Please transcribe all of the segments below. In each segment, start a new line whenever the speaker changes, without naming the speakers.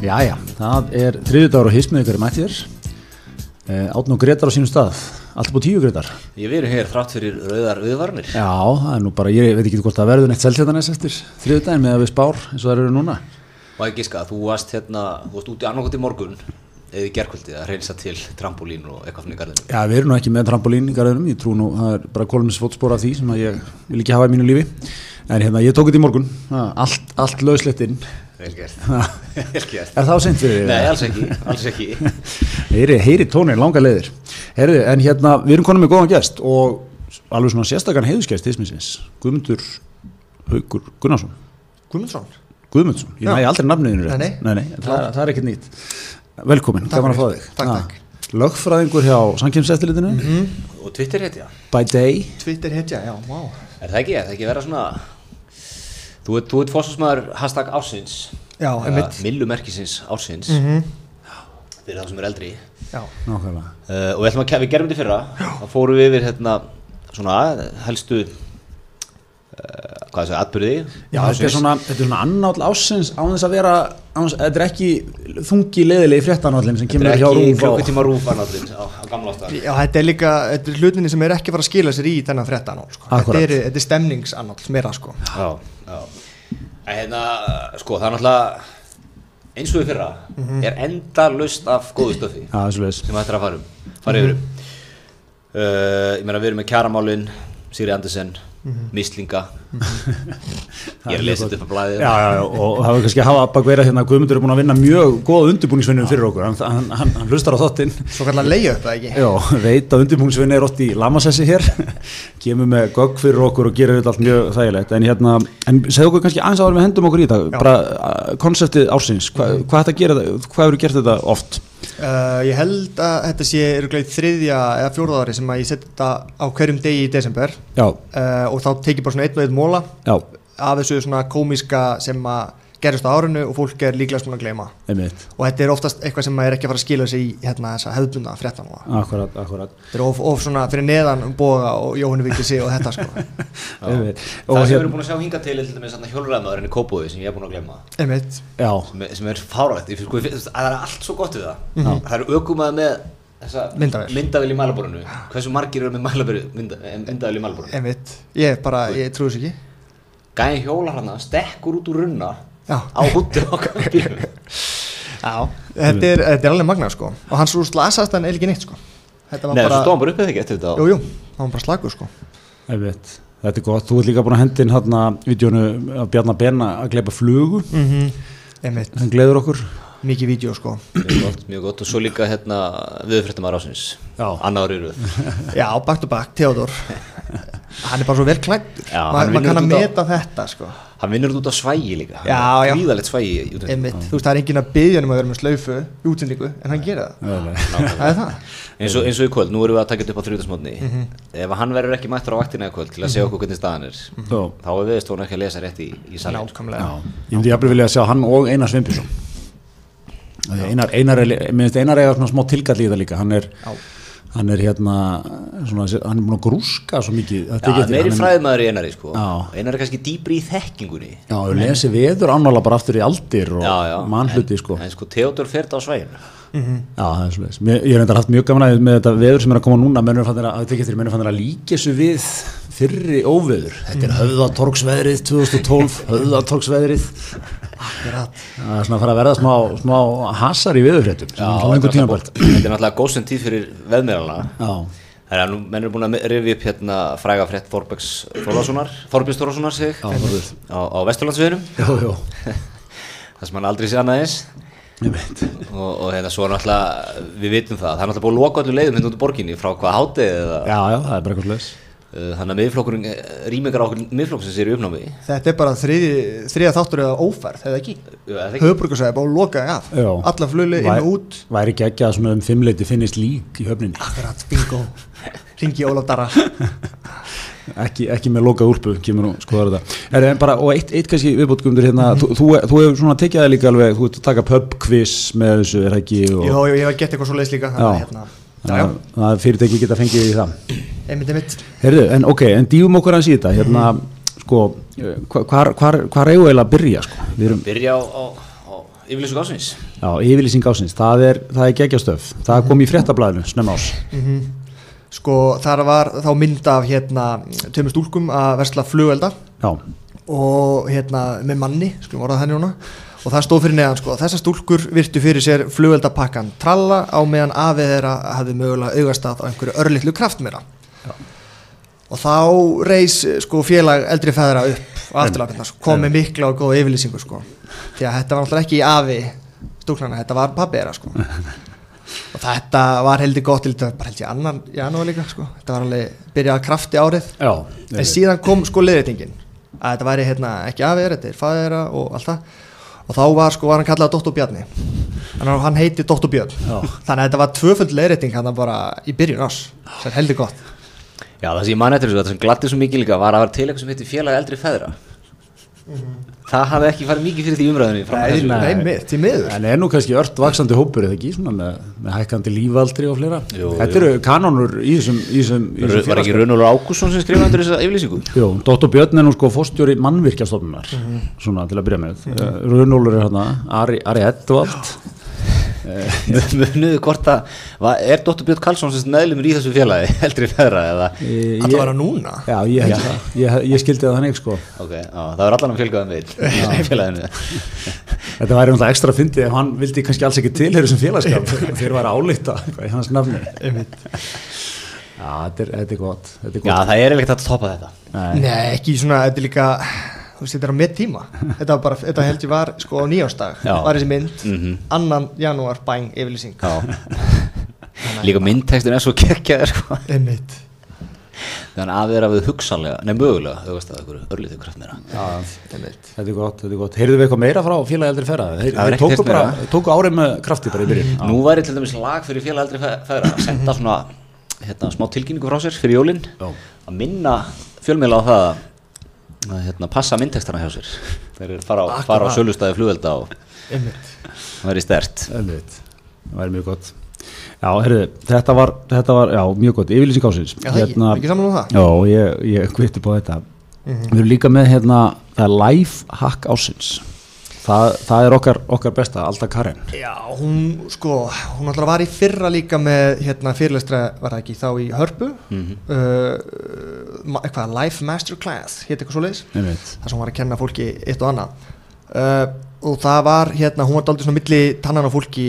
Jæja, það er þriðudagur og hismið ykkur er mættir eh, Átn og Gretar á sínum stað Alltaf búið tíu Gretar
Ég verið hér þrátt fyrir rauðar viðvarnir
Já, það er nú bara, ég veit ekki hvort það verður neitt seltjættanes eftir þriðudaginn með að við spár eins og það eru núna
Má ég giska að þú varst hérna, þú varst úti annarkot í morgun eða í gerkvöldi að reynsa til trampolín og eitthvað fyrir garðinu
Já, við erum nú ekki með trampolín í garðinum Ég trú nú, það er bara kolumins fótspor af því sem að ég vil ekki hafa í mínu lífi En hérna, ég tók þetta í morgun Ha, Allt, allt lauslegt inn
Vel gert
Ha,
Vel gert
Er það á seint fyrir þig?
Nei, alls ekki, alls ekki
Heyri, heyri tónin, langa leiðir Heyri, en hérna, við erum konum með góðan gest og alveg svona sérstakann heiðusgest tísminsins, Guðmundur Haugur Gunnarsson,
Guðmundsson
Guðmundsson ég
Já.
næ aldrei nafniðinu rétt
Nei, nei.
Nei, nei, það, er- það er ekkert nýtt Velkomin,
Takk
gaman að fá
fyrir.
þig
Takk,
Ah,
takk. Mhm.
Lögfræðingur hjá Sankjumseftilitinu
Og Twitter hétt, já
By day
Twitter hetja, já, vá
Er það ekki, er það ekki vera svona Þú ert, þú ert fórsvarsmaður hashtag ásins
Já, einmitt. Mm.
Millumerkisins ásins Fyrir það sem er eldri
Já,
Nákvæmlega
Uh, og við, ætlum að, ke- við gerum þetta í fyrra þá fórum við yfir hérna, svona helstu uh, hvað það segja, atbyrði
Já, þetta er svona, þetta er svona annáll ásins án þess að vera, án þess, þetta er ekki þungi leiðilegi fréttanállin sem kemur hjá
ekki
Rúf á-
klukkutíma rúf annarlinn á, á gamla ástæðan
já þetta er líka þetta er hlutinni sem er ekki að fara að skila sér í þennan frettanál sko. þetta,
Akkúrat.
er, þetta er stemningsanál meira sko.
já, já en hérna, sko, það er náttúrulega eins og í fyrra
Mhm.
er enda laust af góðu stöfi
Já, þessu leiðis
sem þetta er að fara um fara
Mhm.
yfir um uh, ég meina, við erum með kjaramálin Siri Andersen,
Mhm.
Mislinga ég er að lesa þetta upp á blæðið
Já, já, já, og það var kannski að hafa bakveira hérna að Guðmundur er búin að vinna mjög góða undirbúningsvinnum fyrir okkur, hann, hann, hann, hann hlustar á þáttinn
svo kallar leiða upp það ekki
Já, veit að undirbúningsvinni er oft í lamasessi hér kemur með gögg fyrir okkur og gerir þetta allt mjög þægilegt en hérna, en segðu okkur kannski aðeins áður við hendum okkur í þetta,
Já.
bara uh, konseptið ársins, hva, hvað þetta gera þetta hvað hefur gert þetta oft?
uh, ég held að þetta sé örugglega í þriðja eða fjórða ári sem að ég setja þetta á hverjum degi í desember
Já,
uh, og þá tekið bara svona einn og einn móla
já,
af þessu svona komiska sem að gerist á árinu og fólk er líklega svona að gleyma
einmitt
og þetta er oftast eitthvað sem maður er ekki að fara að skila sér í hérna þessa hefðbunda frettanóla
Akkurat, akkurat
þetta er of, of svona fyrir neðan Boga og Jóhannu Víkisi og þetta sko
Einmitt. Og
Það sem við
hérna-
erum búin að sjá hinga til er til dæmis hérna hjólræðmaðurinn í Kópói sem ég er búin að glemma
Einmitt,
Já,
sem er, sem er fárætt, ég sko, ég finn- það er allt svo gott við það það er aukumæð með þessa
Mhm. Myndavél.
myndavél í mælaborinu hversu margir eru með mælaborinu, mynda, eh, myndavél í mælaborinu
einmitt Ég bara, ég trúi þess ekki
gæði hjóla hana, stekkur út úr runna
Já.
á húttu okkar bílum
Já Þetta er, þetta er alveg magnað sko Og hans úr slasast hann er ekki neitt sko Þetta var
Nei,
bara
þessu stóðan bara uppið ekki eftir þetta
Jú, jú, hann var bara slagur sko
einmitt Þetta er gott, þú ert líka búin að hendin hérna vídjónu að Bjarna Benna að gleipa flugu,
Einmitt,
hann gleður okkur
mikið vídeo sko
mjög gott, mjög gott og svo líka hérna viðfréttamaður ásins
Já.
annar eru
Já, back to back, Theodor Hann er bara svo vel klættur
Já, hann
Maður
vinnur
ma kann að
þetta-
meta þetta sko
hann vinnur þetta út á svægi líka
Já, já.
gríðalegt svægi í útlöndum.
Einmitt, þú veist það er enginn að byggja um að vera með slaufu í útsendingu En hann gerir það
Nei, nei.
Það er það
eins og, eins og í kvöld, nú erum við að taka þetta upp á þrjóðasmótni
Mhm.
ef hann verður ekki mættur á vaktina í kvöld til að segja okkur hvernig staðan er
Mhm.
Já.
þá er viðstofan ekki að lesa rétt í, í salin
Nákvæmlega
Ég myndi jafnvel vilja að sjá hann og Einar Sveinbjörnsson Af því að Einar, Einar, er- mér finnst Einar eiga svona smá tilgall í það líka hann er,
Já.
hann er hérna svona, hann er búin að grúska svo mikið þetta er
Já,
ekki eftir,
meiri
hann er-
fræðmaður í einari sko
Já.
einari er kannski dýbri í þekkingunni
Já, og lesi veður ánála bara aftur í aldir og
já, já.
mannhluti
en,
sko
en sko Theodor fer þetta á svægin
Já, það er svolítið. Mér, ég hef reyndar haft mjög gaman að með þetta veður sem er að koma núna, mennur fannir að, að, að, mennur fannir að líka þessu við fyrri óveður. Þetta er höfðatorgsveðrið 2012, höfðatorgsveðrið.
Akkurat
Það er svona að fara að verða smá, smá hasar í veðurfréttum sem er svona einhver tímabært.
þetta er náttúrulega góðsend tíð fyrir veðméralana
Já,
þannig að nú menn eru búin að rifja upp hérna fræga frétt Þorbergs Þorlásunar Þorbjörns Þorlásunar sig
já, Þorður.
á, á Vesturlandsveginum
Jó, jó,
það sem hann aldrei sé annað eins
ég veit.
og, og hérna svo er náttúrulega við vitum það, það er náttúrulega búið að loka allir leiðum hérna út úr borginni frá hvað hátið eða
Já, já, það er bara eitthvað slags.
uh, þannig að miðflokkurinn, rýmingar á okkur miðflokksins eru í uppnámi
Þetta er bara þriði, þriða þáttur eða ófærð, eða ekki?
Já, er það ekki?
Höfbrukarsæði bara lokaði af
Já.
Alla flugli inn og út
Væri ekki ekki að svona um fimmleiti finnist lík í höfninni.
Akkurat, bingo Ringi Ólaf Darra
Ekki, ekki með lokað úlpu, kemur nú skoðar þetta. Er, en bara, og eitt, eitt kannski viðbótgumdur hérna, þú, þú, þú hefur svona tekið það líka alveg, þú ert að taka pub quiz með þessu, er það ekki? Og,
Jó, jó, ég hef gett eitthvað svo leiðis líka
Já.
þannig að, hérna, Já, já,
Það er fyrirtæki geta fengið í það.
einmitt, einmitt
Herðu, en ok, en dýfum okkur hans í þetta, hérna, sko, eh, hva- hvar, hvar, hvar eigum við eiginlega að byrja, sko? Við erum,
byrja á, á, á yfirlýsing ásins
Já, yfirlýsing ásins, það er, það er geggjastöf Það kom í fréttablaðinu, snemma ás
Mm. sko þar var þá mynd af hérna tveimur stúlkum að versla flugelda
Já,
og hérna með manni skulum orða þannig núna og það stóð fyrir neðan sko þessar stúlkur virtu fyrir sér flugeldapakkan tralla á meðan afið þeirra hafði mögulega augastað á einhverju örlittlu kraftmera og þá reys sko félag eldri feðra upp afturlapinna sko kom með mikla og góða yfirlýsingu sko því að þetta var náttúrulega ekki í afi stúlknana þetta var pappera sko og þetta var heldur gott til þetta var bara held ég annan janúar líka sko þetta var alveg byrjað að krafti árið
já
en síðan kom sko leiðréttingin að þetta væri hérna ekki afir, þetta er fæðra og allt það og þá var sko, var hann kallað Dóttur Bjarni þannig að hann heiti Dóttur Björn
Já.
þannig að þetta var tvöföld leiðrétting hann bara í byrjun ás sem er heldur gott
Já, það sem ég man eftir þessu, þetta sem gladdi svo mikið líka var að vera til eitthvað sem heitir félag eldri feðra Það hafði ekki farið mikið fyrir því umræðinni fram að
Nei,
þessu.
nei.
nei, mið, til miður
En er nú kannski ört vaksandi hópur eða ekki, svona með, með hækkandi lífaldri og fleira
Jú,
Þetta eru kanonur í þessum, í þessum, í
Ru-
þessum
Var ekki
félagsskap.
Runolur Ágússon sem skrifaði undir þessa yfirlýsingu?
Jú, Dóttur Björn er nú sko fórstjóri mannvirkjastofnunar
Mhm.
svona til að byrja með mm Runólur er hérna, Ari, Ari Edvald
Munuðu hvort að, va- er Dóttur Björn Karlsson sem meðlumur í þessu félagi eldri feðra eða
Eh, Ég-
alltaf var hann núna
Já, ég, ég, ég, ég skildi það þannig sko
Ok, á, það var allan að fjölgaðum við félaginu
Þetta væri náttúrulega ekstra fyndið ef hann vildi kannski alls ekki tilheyru sem félagskap þeir væri að álíta eitthvað í hans nafni Já, þetta er, þetta er gott Þetta er
Já,
gott
það er ekkert að toppa þetta
Nei,
nei, ekki svona, þetta er líka þú veist, þetta er á með tíma þetta, var bara, þetta held ég var sko á nýjástag
Já.
var þessi mynd,
Mhm.
annan janúar bæng yfirlýsing
Já Líka myndtekstin er svo kekkjaður sko.
einmitt
Þannig að vera við hugsanlega, nei mögulega þú veist að einhverju örlítið kraft meira
já,
einmitt
þetta er gott, þetta er gott Heyrðu við eitthvað meira frá félagi aldrei ferða? Þeir,
Það er
þeir
ekki
tóku,
heyrt meira.
bara, tóku árið með krafti bara í byrjun
Nú væri til dæmis lag fyrir félag aldrei færa að senda svona hérna, smá tilkynningu frá sér fyrir jólinn
Já.
að minna fjölmiðla á það að- að hérna, passa myndtekstana hjá sér þeir eru að fara á, fara á sölustæði flugvelda og
einmitt
það væri stert
Einmitt. Það væri mjög gott Já, heyrðu, þetta var, þetta var já, mjög gott, yfirlýsing ásins
Já, það
Hérna-
ekki, Mhm. ekki saman um það
Já, ég, ég kvittu på þetta Við erum líka með hérna, það er life hack ásins Það, það er okkar, okkar besta, alltaf Karen
Já, hún sko, hún alltaf var í fyrra líka með hérna fyrirlestra, var það ekki þá í Hörpu mm eitthvað Life Masterclass, hétt eitthvað svo leiðis
Einmitt.
þar sem hún var að kenna fólki eitt og annað uh, og það var hérna, hún var daldið svona milli tannan á fólki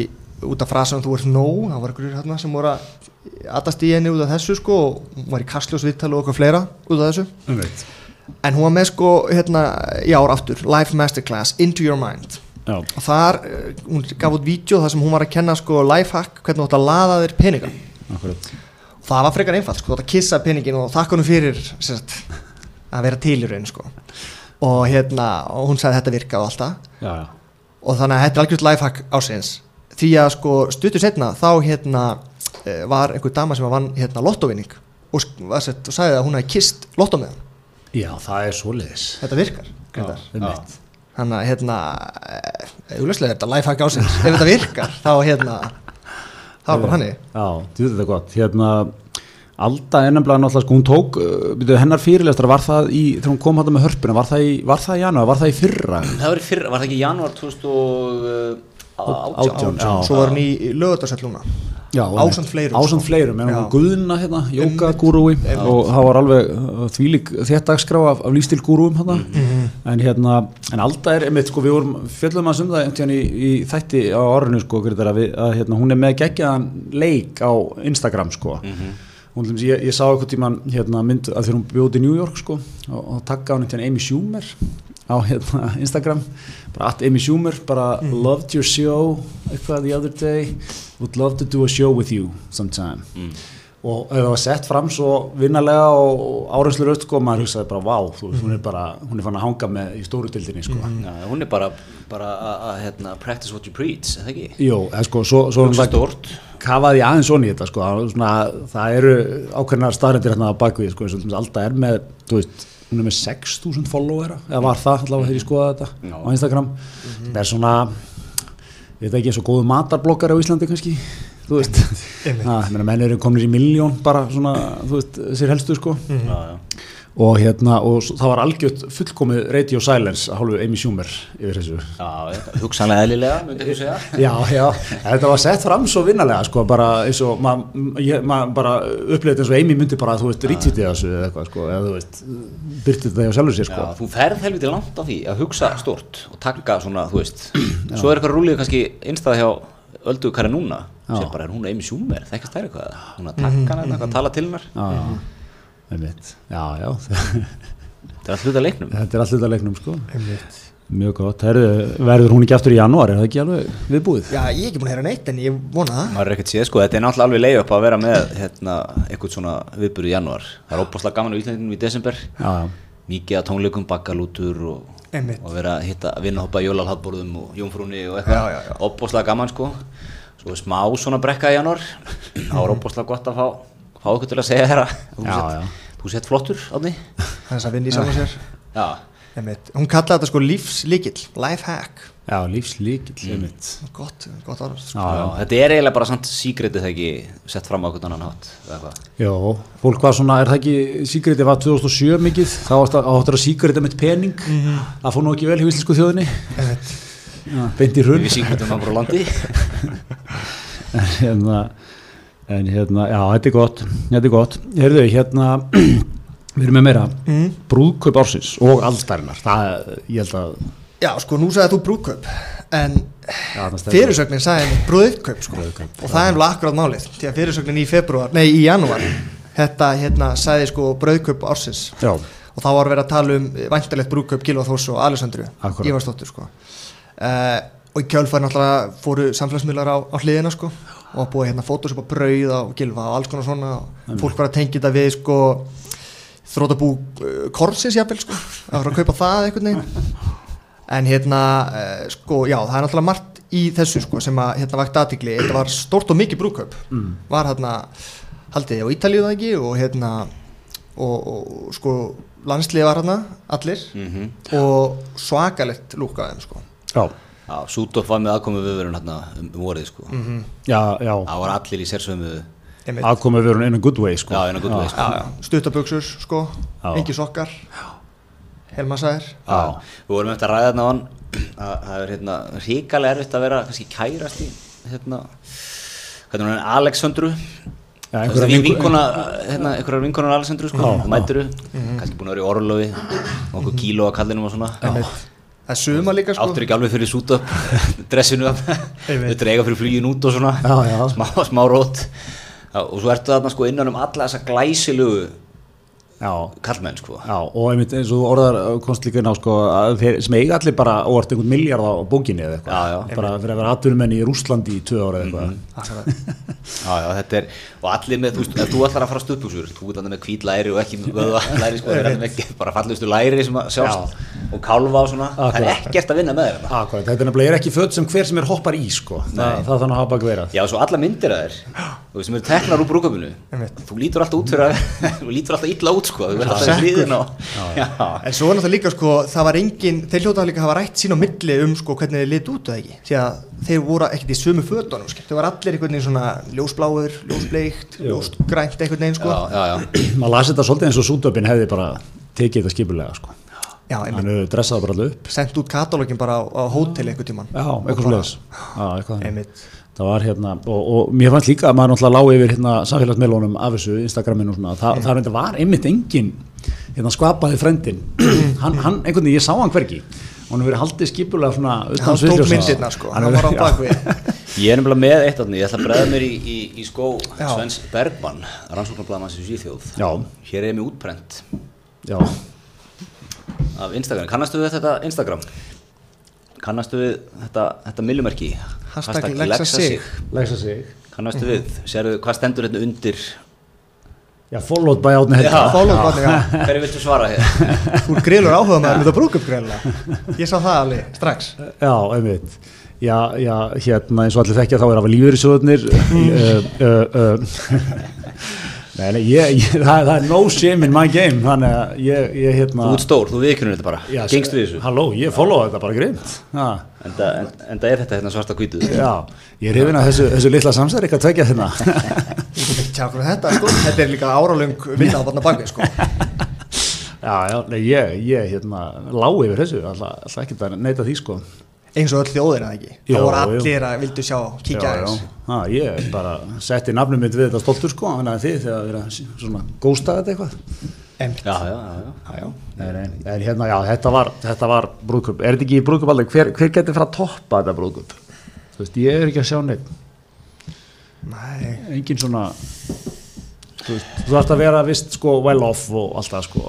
út af frasan þú ert nóg, það var einhverjur hérna sem voru að atast í henni út af þessu sko og hún var í kastljós og okkur fleira út af þessu
Einmitt.
en hún var með sko hérna í ár aftur, Life Masterclass, Into Your Mind
Já,
og þar, eh, hún gaf út vídeo þar sem hún var að kenna sko lifehack hvernig þú átt að laða þér peninga og
akkurat
það var frekar einfalt, sko, þú átt að kissa peningin og þakka honum fyrir sem sagt, að vera til í raun sko. og hérna, og hún sagði að þetta virkaði alltaf
Já, já
og þannig að þetta er algjörð lifehack ásins því að sko stuttur setna þá hérna eh, var einhver dama sem vann hérna lottovinning og, sk- var sett, og sagði að hún hefði kist lottó með hann,
Já, það er svoleiðis
þetta virkar
Já,
Grétar.
einmitt.
þannig að hérna auðvitað er þetta lifehack ásins ef þetta virkar þá hérna þá er bara hannig
Já, þú veit þetta gott Hérna, Alda er nefnilega náttúrulega sko, hún tók, uh, byrju, hennar fyrirlestra var það í, þegar hún kom hættu með hörpuna var það í, var það í janúar, var það í fyrra
Það var, fyrr, var það ekki í janúar 2018
Átján, já.
svo var hann í lögutarsell núna
Já,
Ásamt
einmitt.
fleirum,
Ásamt
sko.
fleirum, en hún
Já.
guðna hérna, jókagúrúi og það var alveg uh, þvílík þéttagskrá af, af lífstilgúrúum hérna en hérna, en alltaf er einmitt sko, við vorum fjöllum að sumða hérna, í, í þætti á orðinu sko, Grétar, að, við, að hérna, hún er með geggjaðan leik á Instagram sko Hún, til dæmis, ég, ég sá eitthvað tíman hérna, mynd að þegar hún bjóði í New York sko, og, og takka hún hérna, Amy Schumer á hérna, Instagram bara at Amy Schumer bara loved your show eitthvað the other day would love to do a show with you sometime og ef það var sett fram svo vinnalega og áreinslu rödd sko maður hugsaði bara vá þú, veist, hún er bara hún er fann að hanga með í stóru dildinni sko
Já, Hún er bara, bara að, að hérna, practice what you preach, er það ekki?
Jó, eða sko, svo, svo
Hugsa stórt.
kafaði ég aðeins svona í þetta sko, það var svona, það eru ákveðnar staðrættir hérna á bakvið, sko, eins og alltaf er með, þú veist, hún er með 6.000 followera, eða var það allavega þegar ég skoðaði þetta
Já. Mhm.
á Instagram, það er svona, við veit ekki, eins og góðu matarblokkar á Íslandi kannski, þú veist, Ah,
Mhm.
það, menn eru komnir í miljón bara svona, þú veist, sér helstu sko,
Já, já.
og, hérna, og s- það var algjört fullkomið radio silence að hálfu Amy Schumer yfir þessu
Já, já, hugsanlega eðlilega, myndi ekki segja
Já, já, þetta var sett fram svo vinnalega sko, bara eins og maður ma, bara upplifði þetta eins og Amy myndi bara þú veist, rítið þessu eða eitthvað sko, eða þú veist, byrtið það hjá sjálfur sér sko.
Já, þú ferð helviti langt á því að hugsa stort og taka svona, þú veist Svo er eitthvað rúlið kannski einstæða hjá Öldu Kari núna
Já.
sem bara er hún einu sjúmer, þekkist þær eitthvað hún er að taka hana, eitthvað að tala til hennar
Já, já, einmitt. Já, já,
þetta er að hluta leiknum
þetta er alltaf leiknum sko.
Einmitt.
Mjög gott, Herðu, verður hún ekki aftur í janúar, er það ekki alveg viðbúið?
Já, ég er ekki búin að heyra neitt en ég vona það
maður er ekkert séð sko, þetta er náttúrulega alveg leið upp að vera með hérna, eitthvað svona viðbyrð í janúar það er óbúslega gaman á Íslandinum í desember
Já, já,
mikið að tónleikum, bakkalútur og,
Einmitt.
og vera að hitta að vinna hoppa í jólalhatborðum og jómfrúni og
Já, já, já.
eitthvað óbúslega gaman sko svo er smá svona brekka í janúar þá er óbúslega gott að fá, fá eitthvað til að segja þeirra þú
Já,
sett-
já.
þú sett flottur átni
Þannig að vinna í saman sér
já,
Einmitt. Hún kallaði þetta sko lífslikill, life hack
já lífslíkill, einmitt.
Gott, gott orð sko.
Já, já.
þetta er eiginlega bara samt síkretið þegar ekki sett fram á eitthvað annan hátt eða eitthvað.
Já, fólk var svona, er það ekki Sigriði var 2007 mikið, þá áttu að Sigriði mitt pening, það fór nú ekki vel hjá íslensku þjóðinni Já, beint í hrun
við síkretum að bara landi
en hérna, en hérna já, þetta er gott, þetta er gott heyrðu, hérna við erum með meira, brúðkaup ársins og allstærinar, það, ég held að
Já, sko, nú sagði þú brúðkaup En
Já, það stendur.
fyrirsögnin sagði henni brúðkaup sko.
Brúðkaup,
Og það er alveg akkurát málið Því að fyrirsögnin í februar, nei í janúar Þetta hérna sagði sko brúðkaup ársins
já,
og þá var verið að tala um vantarlegt brúköp Gilva Þórs og Alessandru
Akkúrat.
Ívarsdóttur sko. uh, og í kjölfæri náttúrulega fóru samfélagsmiðlar á, á hliðina sko, og búið hérna fótos upp á brauð og Gilva og alls konar svona og fólk var að tengja þetta við sko, þrótabú uh, korsins jafnvel sko, að fara að kaupa það einhvern veginn en hérna uh, sko, já, það er náttúrulega margt í þessu sko, sem að hérna vakti aðtikli þetta var stórt og mikið brúköp var hérna haldið á Ítalíu það ekki og hérna og, og sko landslið var hérna allir og svakalegt lúk af þeim sko
já,
Já, Sútof var með aðkomi viðverun hérna um um vorið sko.
já, já
Það var allir í sérsömu
Einmitt.
aðkomið verður einu good way, sko
Já, en að gutt veist
Já, já. stuttaböksur sko
Já.
engi sokkar helmasæðir
Við vorum eftir að ræða þarna á hann að það er hérna ríkalega erfitt að vera kannski kærast í hérna hvernig hún er Aleksandru
Já,
Það
einhverjar
er
vinkon-
vinkona, hérna, einhverjar vinkonar Alessandru sko,
Já, Mm-hmm. já.
mæturu, kannski búin að vera í orlofi, nokkuð kíló að kallinum og svona,
það er suma líka sko
áttur ekki alveg fyrir sút upp dressinu,
Einmitt.
þetta er eiga fyrir flugin út og svona,
Já, já.
smá, smá rót Já, og svo ertu þarna sko innan um alla þessa glæsilugu
já,
kallmenn sko,
Já, og einmitt eins og þú orðar komst líka inn á sko, að þeir sem eiga allir bara óvart einhvern miljard á bókinni eða eitthvað
Já, já.
bara fyrir að vera atvinnumenn í Rúslandi í tvö ára eða eitthvað
Akkurat.
Já, já, þetta er, og allir með, þú veist, ef þú ætlar að fara stuðbuksur, þú ert hann með hvít læri og ekki með vöðva læri, sko, það er hann ekki, bara fallustu læri sem að sjást og kálfa og svona, það er
Akkurat.
ekkert að vinna með þeirna.
Akkurat, þetta er nefnilega er ekki föt sem hver sem er hoppar í sko, það, það þannig að hafa bakveira
Já, svo alla myndir að þér, þú veist, sem eru teknar úr brúköpunu,
Einmitt.
þú lítur alltaf út fyrir að, þú lítur alltaf illa út, sko, þú verður alltaf í
Sekkur.
hliðin og, já,
en svo er náttúrulega líka sko það var engin þeir hljóta líka að hafa rætt sín á milli um sko hvernig þeir lit út eða ekki því að þeir voru ekkert í sumu fötunum skil. þeir var allir einhvern veginn svona ljósbláður ljósbleikt, ljósgrænt einhvern veginn sko
já, já, já,
maður lasi þetta svolítið eins og sútöpinn hefði bara tekið þetta skipulega sko
já, einmitt.
hann hefur dressað bara alveg upp
sendt út katalógin bara á, á hótel einhvern tíman
Já, eitthvað
bara-
svoleiðis. Já, eitthvað þannig.
Einmitt.
Það var hérna, og, og mér fannst líka að maður náttúrulega lág yfir hérna samfélagsmeilónum af þessu, Instagraminu og svona, Þa, það reyndar var einmitt engin, hérna skapaði frendin, hann, hann, einhvern veginn, ég sá hann hvergi, og hann hefur verið haldið skipulega svona utan
hann tók
sviðsljósa.
myndirna sko, hann var á
hefur-
bakvið
Ég er nefnilega með eitt aðni, ég ætla að bregða mér í, í, í skó
Já.
Svens Bergmann, rannsóknarblaðmanns í Svíþjóð.
Já.
Hér er mér útprent
Já,
af Instagram. Kannastu við þetta Instagram? Kannastu við þetta, þetta millumerki?
Hashtag Lexa sig.
læsa sig.
Kannastu við?
Mhm.
Sérðu hvað stendur hérna undir?
Já, followed by átni
Já.
helga.
Follow barni, já.
Hverju viltu svara
Ah.
hér?
Þú er grillur áhuga maður með það brúkup grilla Ég sá það alveg strax
Já, einmitt. Já, já, hérna eins og allir þekkja þá er að hafa lífur í sjóðunir. eh, Nei, nei, ég, ég, það, það er no shame in my game, þannig að ég, ég hérna...
Þú ert stór, þú viðkynur þetta bara.
Já,
Gengst við þessu.
Halló, ég followa þetta bara grymt. Ha,
En það, en, en það er þetta hérna svarta kvítuð.
já, ég er hefinn að þessu, þessu litla samsæri hérna. ekki að tvekja þérna.
Tjá, hvernig þetta sko Þetta er líka áralöng vinna á barna bakvið sko
já, já, nei, ég, ég hérna, lág yfir þessu, alltaf, alltaf ekki að neita því sko
eins og öll þjóðir eða ekki
Já,
það voru
já.
allir að vildu sjá, kíkja
já, já.
aðeins
Ha, ég bara setti nafnum mitt við þetta stoltur sko, þannig að þið þegar að vera svona gósta þetta eitthvað
Einmitt.
já, já, já, já.
Já, nei, nei, en hérna, já, þetta var, þetta var brúðkup, er þetta ekki í brúðkup alveg, hver, hver getur fara að toppa þetta brúðkup? Þú veist, ég er ekki að sjá neitt,
Nei.
engin svona, þú veist, þú þarfst að vera vist sko well off og allt það sko,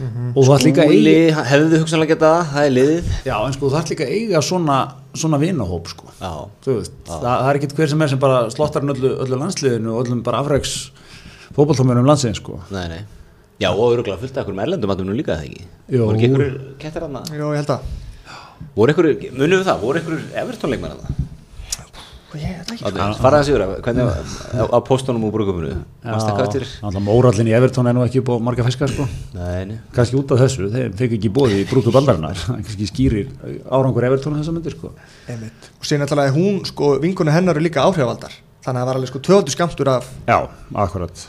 Mhm.
og þú þarfst líka
Sko,
að eiga,
Úli, hefðu hugsanlega getað það, það er liðið
já, en sko, þú þarfst líka að eiga svona, svona vinahóp sko,
Já,
þú veist, það, það er ekki hver sem er sem bara slottar hann öllu, öllu landsliðinu og öllum bara afræks fótballtómunum landsliðin sko,
nei, nei Já, og öruglega fullt af einhverjum erlendum andum nú líka það ekki
Jó.
Voru ekki einhverjur kettir hann að
Jó, ég held að
Voru einhverjur, munum við það, voru einhverjur evertónleikmenn hann að
Ég ætla ekki
Adrian, fara þessi yfir að- hvernig var- á, á póstunum úr brúkupinu Mást ekki eftir
alltaf mórallin í Everton er nú ekki upp á marga fiska sko,
Nei, nei
kannski út af þessu, þeim fekk ekki bóði í brúku baldarinnar, kannski skýrir árangur Evertón þessa myndir sko.
Einmitt. og síðan náttúrulega hún, sko, vinkonu hennar eru líka áhrifaldar þannig að það var alveg sko tvöldu skamtur af
Já, akkurat.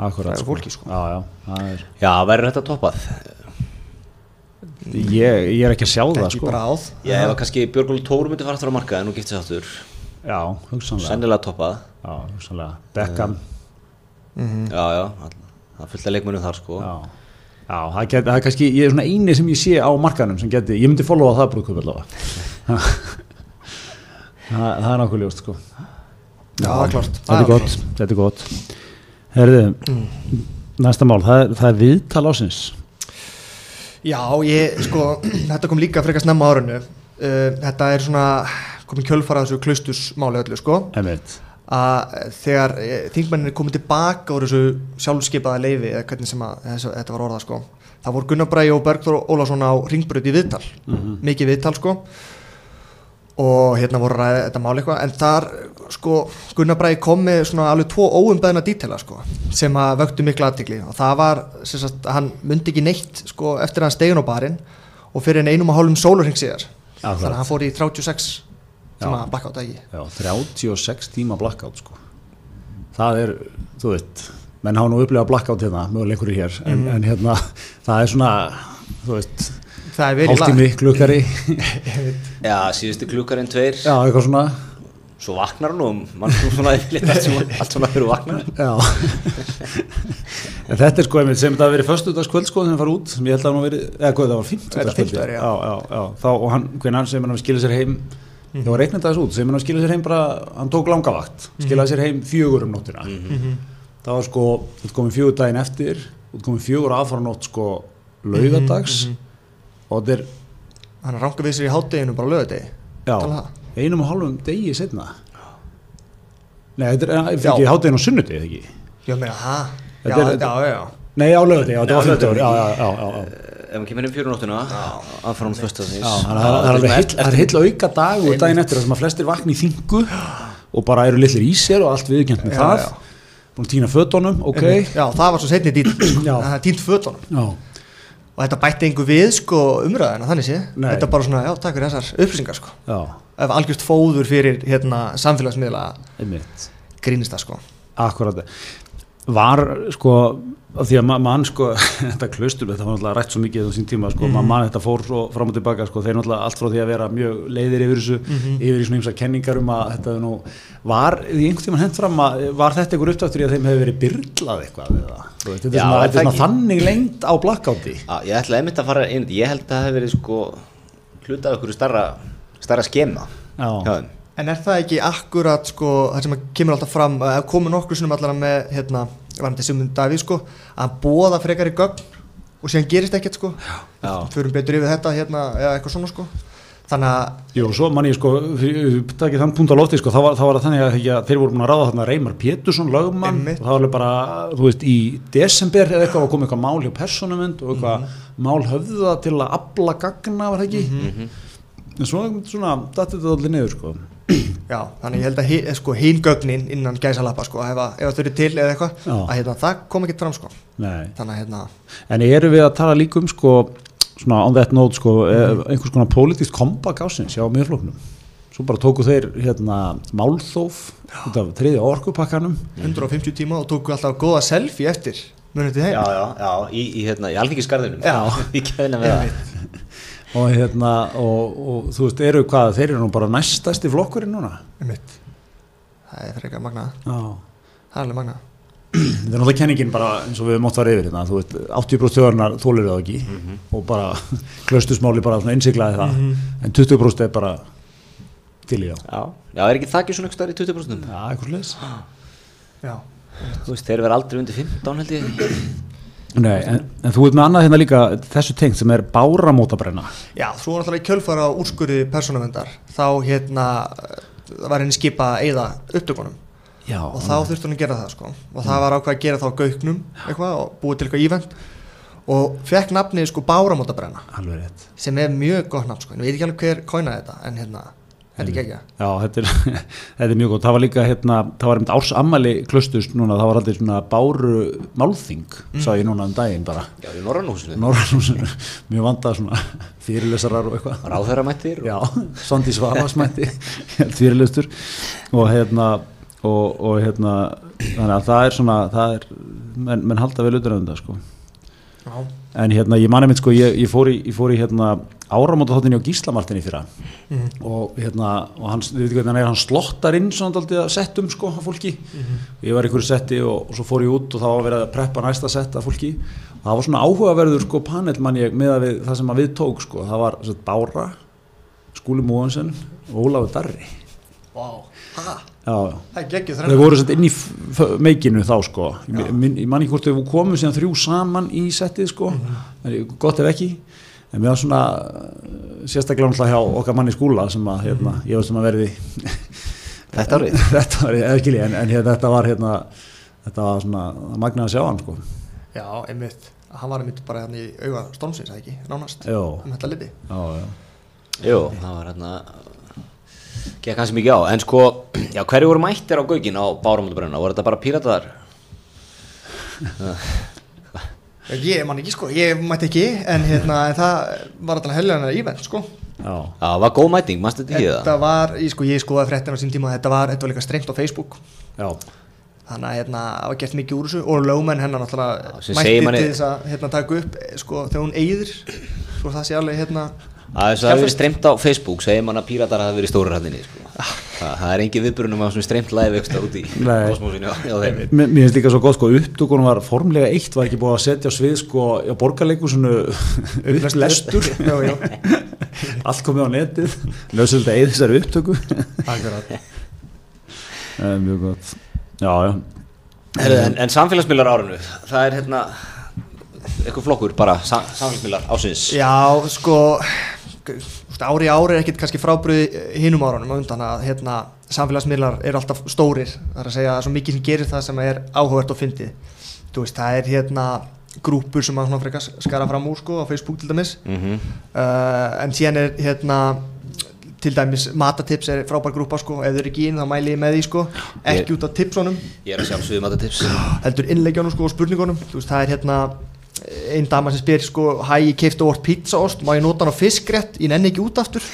Akkurat.
Það er fólki, sko.
Já, já, það er.
Já, verður þetta toppað
Ég, ég er ekki að sjá það
ekki
sko.
bara áð
Ég hef kannski Björgólu Tóru myndi fara aftur á marka en nú giftið þáttur
Já, hugsanlega.
Sennilega toppað
Já, hugsanlega. Beckham.
Eh, Mhm.
Já, já, all- það er fullt af leikmennum þar sko
Já. Já, það, get, það er kannski, ég er svona eini sem ég sé á markanum sem geti, ég myndi followa það brúðkup allavega. það, það er nokkuð ljóst sko.
Já, Mm. það er klárt.
Þetta
Það
er
er
gott, þetta er gott. Herðu, næsta mál, það er, það er viðtal ásins.
já, ég, sko, þetta kom líka frekar snemma á árinu uh, þetta er svona komin kjölfara þessu klaustusmáli öllu, sko
Emmett.
að eh, þegar þingmennin er komið tilbaka úr þessu sjálfskeipaða leifi eða hvernig sem að, þess, þetta var orðað sko það voru Gunnar Bræði og Bergþór Ólafsson á ringbröð í viðtal,
Mhm.
mikið viðtal sko og hérna voru að ræða þetta máli eitthvað en þar sko Gunnar Bræði kom með svona alveg tvo óumbeðna dítela sko sem að vöktu mikla aðtikli og það var sem sagt að hann myndi ekki neitt sko eftir að hann stegun á barinn og fyrir en einum og hálfum sólarhing síðar
Akkurat.
þannig að hann fór í 36 tíma blackout eða ekki
Já, 36 tíma blackout sko. það er, þú veit menn hafa nú upplegað blackout hérna möguleg einhverju hér, en,
Mm.
en hérna það er svona, þú veist
það er verið í lag Mm.
hálftími, klukkari
Já, síðustu klukkarinn tveir
já, eitthvað svona
Svo vaknar hann og mann sko svona yfirleitt allt svona, allt svona fyrir vaknar
já en þetta er sko einmitt sem þetta hafi verið föstudagskvöld sko þegar hann fara út, sem ég held að hann verið eða hvað það var fimmtudagskvöld
fimmtudagur, já.
já, já, já, þá og hann, hvernig hann sem hann skilja sér heim það var reiknandi aðeins út, sem hann skilja sér heim bara, hann tók langavakt, skiljaði sér heim fjögur um nóttina
Mhm.
það var sko, þú komið fjögur daginn eftir þú komið fjögur aðfara nótt sko laugadags og þetta er,
hann ranka við sér í hátteginu bara lögadegi
já,
Tala um það.
einum og hálfum degi setna nei, þetta er, fyrir
Já.
ekki hátinn og sunnuti ekki
já meina hæ já,
Þetta er-
já, já, já
nei, á laugardegi, já, þetta
Nei,
var
á
fjögur
laugardegi.
já, já, já, já, já.
Ef hann kemur inn fjóru nóttuna Aðfram föstaðins
Já, þannig að það er alveg heill- það er heil auka dag og daginn eftir þar sem að flestir vakna í þingu og bara eru litlir í sér og allt viðkjönt með
Já,
það
já.
búin að týna fötunum, ok
já, það var svo setni dýrt sko.
Já.
það er dýrt fötunum
já,
og þetta bætti engu við sko umræðina þannig sé
Nei.
þetta er bara svona, já, takk fyrir þessar upplýsingar sko
já,
ef algjörst fóður fyrir hérna samfélagsmiðla
einmitt
grínist það sko
akkurat var sko af því að ma- mann sko þetta klaustur, þetta var náttúrulega rætt svo mikið á sín tíma
Mhm.
sko, mm mann þetta fór svo fram og tilbaka sko, þeir náttúrulega allt frá því að vera mjög leiðir yfir þessu,
Mhm.
yfir í svona ymsa kenningar um að þetta er nú, var því einhvern tímann hent fram að, var þetta einhver uppdáttur í að þeim hefur verið byrlað eitthvað eða, þú veist, þetta er
Já,
svona,
er
þetta er
það
svona þannig lengt á blackouti
Ég ætla einmitt að fara inn Ég held að það hefur verið sko Hluta af einhverju starra Starra skema
Já.
hjá þeim.
en er það ekki akkurat sko það sem kemur alltaf fram að komu nokkur sinum allara með hérna varandi Simon Davíð sko að bóða frekar í gögn og síðan gerist ekkert sko já. förum betur yfir þetta hérna eða eitthvað svona sko þannig að
Jú, svo mann ég sko, takið þann punkt á lofti sko, þá var, þá var það þannig að ekki að þeir voru búin að ráða þarna Reymar Pétursson, lögmann
Einmitt.
og það var alveg bara, þú veist, í desember eða eitthvað var komið eitthvað mál hjá persónumund og eitthvað mál höfða til að abla gagna var það ekki en svo, svona, dætti þetta allir niður sko
Já, þannig ég held að hi, sko, hinn gögnin innan gæsalappa sko, ef, að- ef þau eru til eða eitthvað
Já.
að hérna, það kom ekki fram sko
Nei.
þannig að hérna,
En eru við að tala líka um sko, svona on that note sko, mm. einhvers konar pólitískt kompakt ásins hjá mjöfloknum Svo bara tóku þeir hérna málþóf út af þriðja orkupakkanum
150 tíma og tóku alltaf góða selfie eftir munið til þeim
já, já, já, í, í, hérna, í alþingisgarðinum
Já.
í keðina með það
og hérna og, og þú veist, eru hvað, þeir eru nú bara næstasti flokkurinn núna
einmitt. það er frekar magna
já.
það er alveg magna
þetta er náttúrulega kenningin bara eins og við mótt var yfir hérna, þú veit, 80% þjóðarinnar þólir það ekki og bara klaustusmáli bara svona innsiklaði það en 20% er bara til í þá
já, já, er ekki þakið svona einhverstaðar í 20%
já, eitthvað sliðis
já,
þú veist, þeir verða aldrei undir 15 held ég
Nei, en, en þú veit með annað hérna líka þessu tengt sem er báramótabrenna
já svo var náttúrulega í kjölfara á úrskurði persónavendar þá hérna það var henni skipa að eyða upptökunum
já,
og þá þurfti hún að gera það sko og það var ákvað að gera það á gauknum eitthvað og búið til eitthvað ívend og fekk nafnið sko Báramótabrenna
alveg rétt
sem er mjög gott nafn sko en við veit ekki alveg hver kóinaði þetta en hérna,
Mm.
þetta er gegja
Já, þetta er, þetta er mjög góð. Það var líka, hérna, það var einmitt ársammæli klustust núna, það var aldrei svona báru málþing,
Mm.
sá ég núna um daginn bara.
já, í Norrannúsinu,
Norrannúsinu, mjög vandað svona fyrirlesarar og eitthvað.
ráðherramættir og...
Já, Sandi Svavasmætti, fyrirlestur og hérna, og, og hérna, þannig að það er svona, það er, menn, menn halda vel utan um þetta sko.
Já.
En hérna, ég mani mitt sko, ég, ég, fór í, ég fór í hérna áramóta þáttinni á Gíslamartinni fyrra og hérna, og hans, við veitum hvernig hann er, hann slottar inn svona daldið að settum sko að fólki. Ég var í einhverju setti og, og svo fór ég út og þá var verið að preppa næsta sett að fólki og það var svona áhugaverður sko panel mann ég með að við, það sem að við tók sko, það var svo, Bára, Skúli Móhansen og Ólafur Darri.
wow. ha,
Já, já.
það er geggjuð
Þeir
þrenna
voru sett inn í f- f- meikinu þá sko, Ég mi- minn- ég man ekki hvort þau komu síðan þrjú saman í settið sko, en ég- gott ef ekki, en mér var svona uh, sérstaklega náttúrulega hjá okkar manni skúla sem að hérna, ég var sem að verði
þetta árið
þetta var, eða skilji, en, en hérna, þetta var hérna, þetta var svona það magnað að sjá hann sko,
já, einmitt, hann var einmitt bara hérna í auga stormsins, eða ekki, nánast
já,
um þetta liti
já, já,
Jú, það var hérna gekk kannski mikið á, en sko já, hverju voru mættir á gaukin á Bárumöldabrunna voru þetta bara píratar?
ég man ekki sko, ég mætti ekki en hérna, en það var alltaf helgjana ívend sko
já,
Já, það var góð mæting, mannstu þetta ekki
þetta
það?
var, ég sko, ég skoðaði fréttina á sín tíma þetta var, þetta var líka strengt á Facebook
já,
þannig að hérna, það var gert mikið úr þessu og lögmenn hennar náttúrulega
Já, sem
mætti
segir
til
manni-
þess að hérna, taka upp eh, sko, þegar hún eigður svo það sé alveg hérna
Það er svo að það verið streymt á Facebook segir mann að píratar hafa verið stóru ræðinni sko. það, það er engin viðbrunum að svona streymt live ekstra út í
Nei.
kosmosinu á- hjá þeim.
Mér mér finnst líka svo gott sko, upptökunum var formlega eitt, var ekki búið að setja á svið sko, á borgarleikusinu upplestur,
já, já,
allt komið á netið, nöðsölda eða þessari upptöku.
akkurat
Það er mjög gott. Já, já.
Herðu, en, en samfélagsmiðlar árinu það er hérna eitthvað flokkur bara, sam, samfélagsmiðlar ásins
já, sko g- úst, ári í ári er ekkit kannski frábriði hinum árunum á undan að hérna, samfélagsmiðlar eru alltaf stórir það er að segja að svo mikið sem gerir það sem er áhugavert og fyndið þú veist, það er hérna grúpur sem að svona frekar skara fram úr sko á Facebook til dæmis
mm
uh, en síðan er hérna til dæmis matatips er frábær grúpa sko ef þau eru ekki inn þá mæli ég með því sko ekki
Ég-
út af tipsunum
ég er að sjálfsögum að þetta tips
heldur innleggjónum sko og spurningunum þú veist það er hérna einn dama sem spyr sko hæ ég keifti óvart pizzaost má ég nota hann á fiskrétt ég nenni ekki út aftur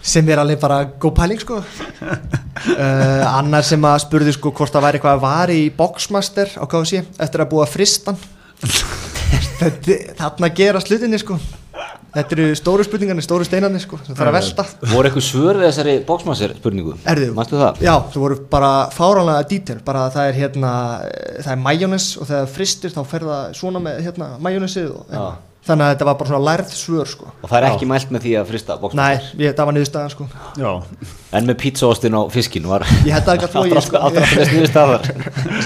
sem er alveg bara góð pæling sko uh, annar sem að spurði sko hvort það væri eitthvað að vari í boxmaster á KFC eftir að búa fristan þetta, þarna gera slutinni sko þetta eru stóru spurningarnir, stóru steinarnir sko það þarf að velta
voru eitthvað svör við þessari bóksmassir spurningu
Erðu,
mannstu það?
Já, það voru bara fáránlega dítil bara að það er hérna, eh, það er majónes og þegar fristir þá fer það svona með hérna, majónesið og hérna. þannig að þetta var bara svona lærð svör sko
og það er ekki mælt með því að frista
Nei,
bóksmassir
ég, það var niðurstaðan sko
Já.
en með pizzaostin á fiskin var
Ég held að það gat flogið, sko.
alltaf þess niðurstaðar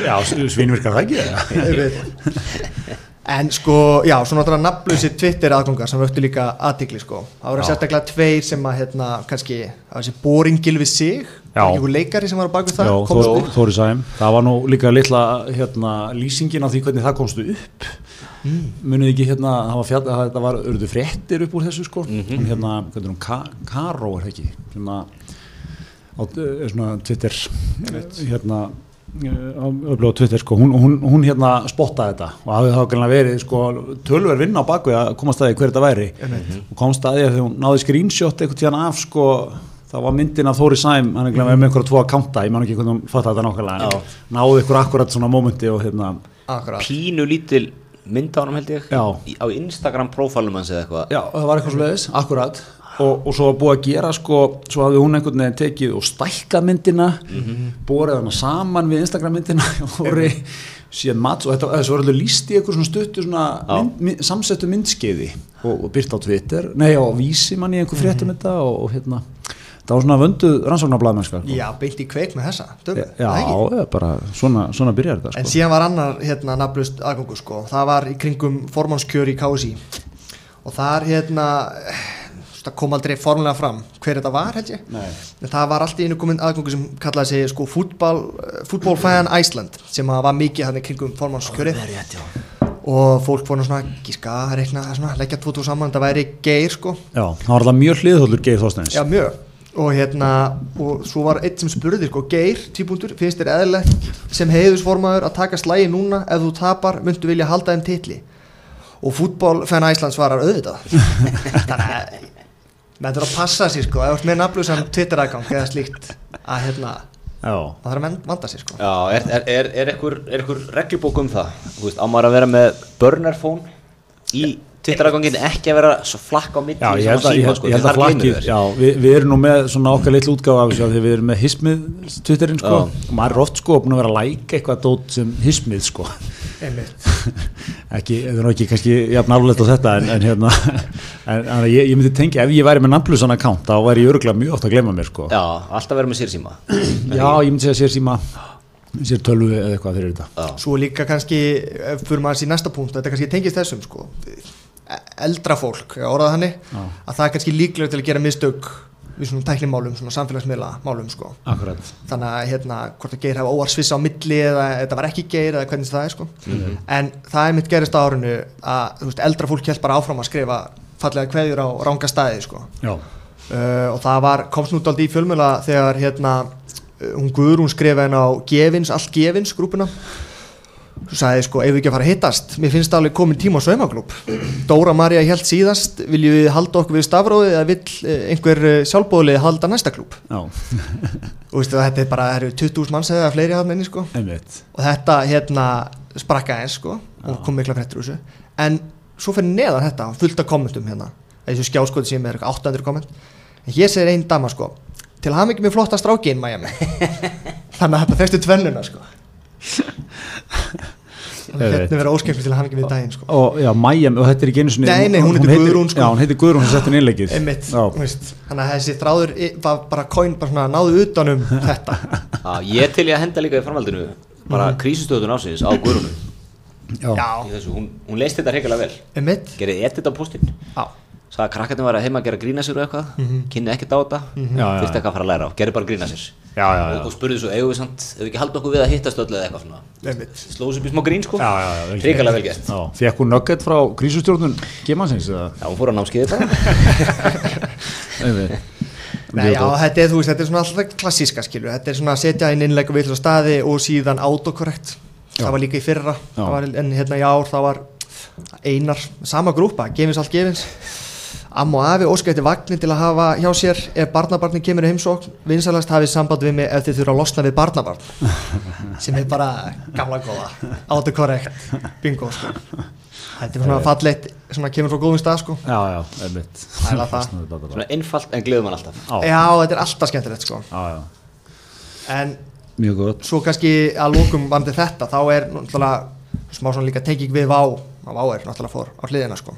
Já, svinvirkar það ekki það?
Ég veit. En sko, já, svona náttúrulega nafnlösi Twitter aðgöngar sem vöktu líka aðtikli sko Það voru
Já.
sérstaklega tveir sem að hérna, kannski, það var þessi boringil við sig
Já.
Einhver leikari sem var á baku
Já,
það komst
Þór-
upp.
Þóri Sæm. Það var nú líka litla hérna, lýsingin af því hvernig það komstu upp.
Mm.
Munið ekki hérna, það var fjall, það, það var, urðu fréttir upp úr þessu sko. Mm Hérna, hvernig er hún, Ka Karó er það ekki? Hérna, á, er svona Twitter, hérna, öflug á Twitter sko, hún, hún, hún hérna spottaði þetta og hafði þá greinlega verið sko tölver vinna á bakvið að komast að því hver þetta væri og komst að því að því hún náði screenshot eitthvað tíðan af sko það var myndin af Þóri Sæm hann er glemur með einhverja tvo að kanta, ég man ekki hvernig hún fattaði þetta nákvæmlega en náði ykkur akkurat svona mómenti og hérna
Akkurat.
pínu lítil mynd á hann held ég
Já.
Í- á Instagram profilum hans eða eitthvað
Já, það var eitthvað svoleiðis, akkurat og, og svo var búið að gera sko svo hafði hún einhvern veginn tekið og stækkað myndina borið hana saman við Instagram myndina voru síðan mats og þetta þessu var alltaf líst í eitthvað svona stuttu svona
Já.
mynd, mynd, samsettu myndskeiði og, og byrt á Twitter, nei á vísi mann í einhver fréttum þetta og, og hérna það var svona vönduð rannsóknarblæðmenn sko.
Já, beilt í kveik með þessa dömu,
já,
það ekki?
já, bara svona, svona byrjar þetta sko.
En síðan var annar hérna nafnlust aðgöngu sko Það var í kringum formannskjör í KSI Og þar hérna Það kom aldrei formulega fram hver þetta var held ég
Nei.
En það var alltaf einu komin aðgöngu sem kallaði sig sko fútbólfæðan Æsland Sem að var mikið hann í kringum formannskjöri
rétt, já
Og fólk fór nú svona gíska að reikna svona, Leggja tvo tvo saman, þetta væri geir sko
Já, það var alltaf mjög hliðhóllur Geir Þorsteins
Já, mjög og hérna, og svo var eitt sem spurði sko, Geir, típundur, finnst þér eðlilegt sem heiðusformaður að taka slægi núna ef þú tapar, myndu vilja halda þeim titli og fútból fenn Æsland svarar auðvitað þannig að maður þarf að passa sér sko, ef þú ert með nafnlösan Twitter-agang eða slíkt að hérna,
Já.
maður þarf að men- vanda sér sko
Já, er, er, er, er, einhver, er einhver reglubók um það? Þú veist, á maður að vera með burner phone í Twitter-agangin ekki að vera svo flakk á
Eh,
milli
Já, ég
sem
held að,
síma,
ég held,
sko,
ég held að
því þar gleymir
flakkið,
þér.
já, við, við erum nú með svona okkar litlu útgáfa af þessu af því við erum með hismið Twitterinn sko,
Já.
og maður er oft sko búin að vera að læka eitthvað dót sem hismið sko,
einmitt,
ekki, þetta er nú ekki kannski jafn alveg á þetta en, en hérna, en, en ég, ég myndi tengja, ef ég væri með nafnlusan account þá væri ég örgulega mjög oft að glemma mér sko.
Já, alltaf vera með sér síma
Já, ég myndi segja sér síma, sér tölvu eða eitthvað fyrir þetta.
Já,
svo líka kannski ef fyrir maður sér næsta punkt, þetta kannski tengist þessum sko, E- eldra fólk ég orðaði hannig,
Já.
að það er kannski líklega til að gera mistök við svona tæknimálum, svona samfélagsmiðla málum sko
Akkurat.
þannig að hérna, hvort að geir hafa óarsvissa á milli eða þetta var ekki geir eða hvernig það er sko. en það er mitt gerist á árinu að þú veist, eldra fólk held bara áfram að skrifa fallega kveðjur á ranga staði sko.
Já,
uh, og það var, komst nút aldrei í fjölmjöla þegar hérna, uh, hún Guðrún skrifa henn á gefins, allt gefins grúpuna Þú sagði sko, eigum við ekki að fara að hittast Mér finnst alveg komin tíma á saumaklúb Dóra María held síðast Viljum við halda okkur við stafróðið eða vill eh, einhver sjálfbóðlið halda næsta klúb
já,
og veistu, þetta er bara það eru 20.000 manns eða fleiri hann inni sko.
einmitt.
og þetta hérna sprakka eins sko, og kom mikla fréttur úr þessu en svo fyrir neðan þetta fullt af kommentum hérna þessu skjáskoti sem er eitthvað 800 komment en hér segir einn dama sko til hafði ekki með flotta strákin Miami þannig að þetta fyrstu tvennuna sko Þannig að hérna vera óskemmt til hafði ekki með daginn sko
Og, já, Mæja, og þetta er ekki einu sinni
Nei, nei, hún heitir Guðrún, sko.
Já, hún heitir Guðrún sem setti inn innleikið
Einmitt,
Já,
þú veist, þannig að þessi þráður i- var bara coin, bara svona náðu utanum þetta
já ég til ég að henda líka í framhaldinu bara krísustöðun ásins á Guðrúnu
Mhm. já,
í
Já,
þessu, hún, hún leist þetta hreikala vel
einmitt,
gerði edit á postinn
já,
sagði að krakkarnir var að heima að gera grína sér og eitthvað kynni ekkert á þetta,
Já, Mhm. já,
þurfti
já.
eitthvað að fara að læra á gerði bara grína sér
já, já, já.
og, sko, og spurði svo, eigum við samt, ef við ekki halda okkur við að hittast öll eða eitthvað svona
einmitt
slóðu sér upp í smá grín sko
Já, já, já, vel gert.
hrikalega vel gert
Já, fekk hún nugget frá grísustjórnun gemansins eða?
já, hún fór á námskeiði bara
Nei, já, þetta er, þú veist, þetta er svona alltaf klassíska skilur, þetta er svona að setja inn innlegg og vilja staði og síðan autokorrekt það var líka í fyrra, það var, en hérna í ár það var einar, sama grúpa, gefins allt gefins Amma og afi óskætti vagnir til að hafa hjá sér ef barnabarnin kemur í heimsókn vinsalast hafið samband við mig ef þið þurfa að losna við barnabarn sem er bara gamla góða, autokorrekt bingo sko Þetta er svona fallegt, svona kemur frá góðum stað sko
Já, já, einmitt
Það er það.
Snúðu þetta bara.
svona einfalt en gleðum hann alltaf
Já,
Já, þetta er alltaf skemmtilegt sko
já, já,
en
mjög gott
svo kannski að lókum vandi þetta þá er náttúrulega smá svona líka tenging við Vá að Vá er náttúrulega fór á hliðina sko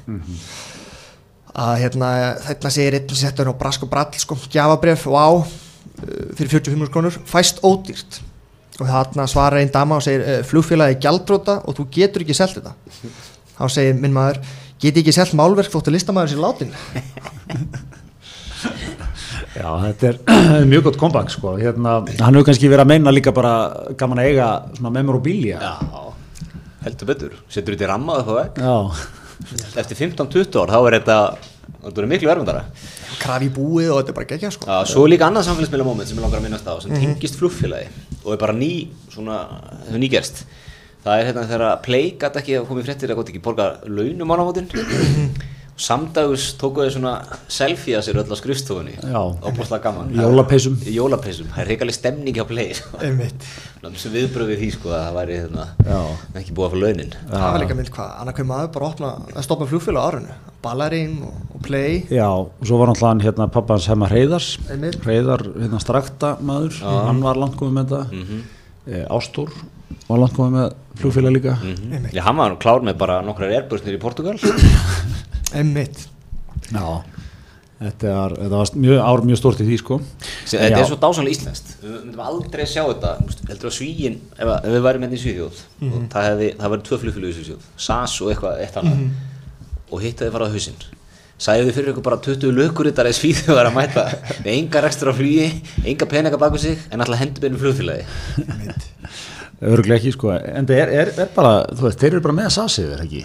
að hérna þetta segir einn settur á brask og brall sko gjafabref Vá uh, fyrir 45 krónur fæst ódýrt og þarna svarar einn dama og segir uh, flugfélagi gjaldróta og þú getur ekki selt þetta þá segir minn maður geti ekki selt málverk þóttu listamaður sér látin
Já, þetta er mjög gott comeback sko hérna, Hann hefur kannski verið að meina líka bara gaman að eiga svona memorabilia
já, heldur betur setur þetta í ramma og eitthvað
Já,
vekk eftir 15-20 ár þá er þetta þetta er miklu verðundara
krafi búið og þetta er bara gegja sko
Já, svo er líka annað samfélagsmiðla moment sem ég langar að minnast á sem
Mhm.
tengist flugfélagi og er bara ný, svona, hefur nýgerst
Mhm.
það er hérna þegar að Play gæti ekki að komið fréttir að gott ekki borga launum ánafótin Samdags tóku þau svona selfie að sér öll á skrifstofunni
Já.
Óbúslega gaman
Í jólapeysum.
Í jólapeysum, það er reikaleg stemning hjá play sko.
einmitt
Náttúrulega sem viðbröð við því sko að það væri hérna,
Já.
ekki búið að fá launin
það var líka mynd hvað, annað hver maður bara opna, að stoppa flugfél á árinu ballarinn og, og play
Já, og svo var náttúrulega hann hérna pappa hans hefma Hreiðars
Einmitt.
Hreiðar, hérna strakta maður hann var langt komið með þetta
Mhm.
mm Ástúr var langt komið með flugfélag líka
Mhm. Já, hann var nú klár með bara nokkrar erbjörnir í Portugal
einmitt
Já Þetta var, þetta var mjög, ár mjög stórt í því sko
Sem- Þetta
Já.
er svo dásanlega íslenskt Við myndum aldrei sjá þetta Þú veist, heldur að svíin, ef, að- ef við værum hérna í Svíðjóð
Mhm.
og það, hefði, það væri tvö flugfélag í Svíðjóð SAS og eitthvað eitt
Mhm.
annað og hitt að þið fara á hausinn Sæðu þið fyrir ykkur bara 20 lökurittar eða Svíðjóð að mæta með enga rekstur á flugi enga peninga baku sig en alltaf hendur beinum flugfélagi
Örglega ekki sko En það er, er, er bara, þú veist, þeir eru bara með að sasið er ekki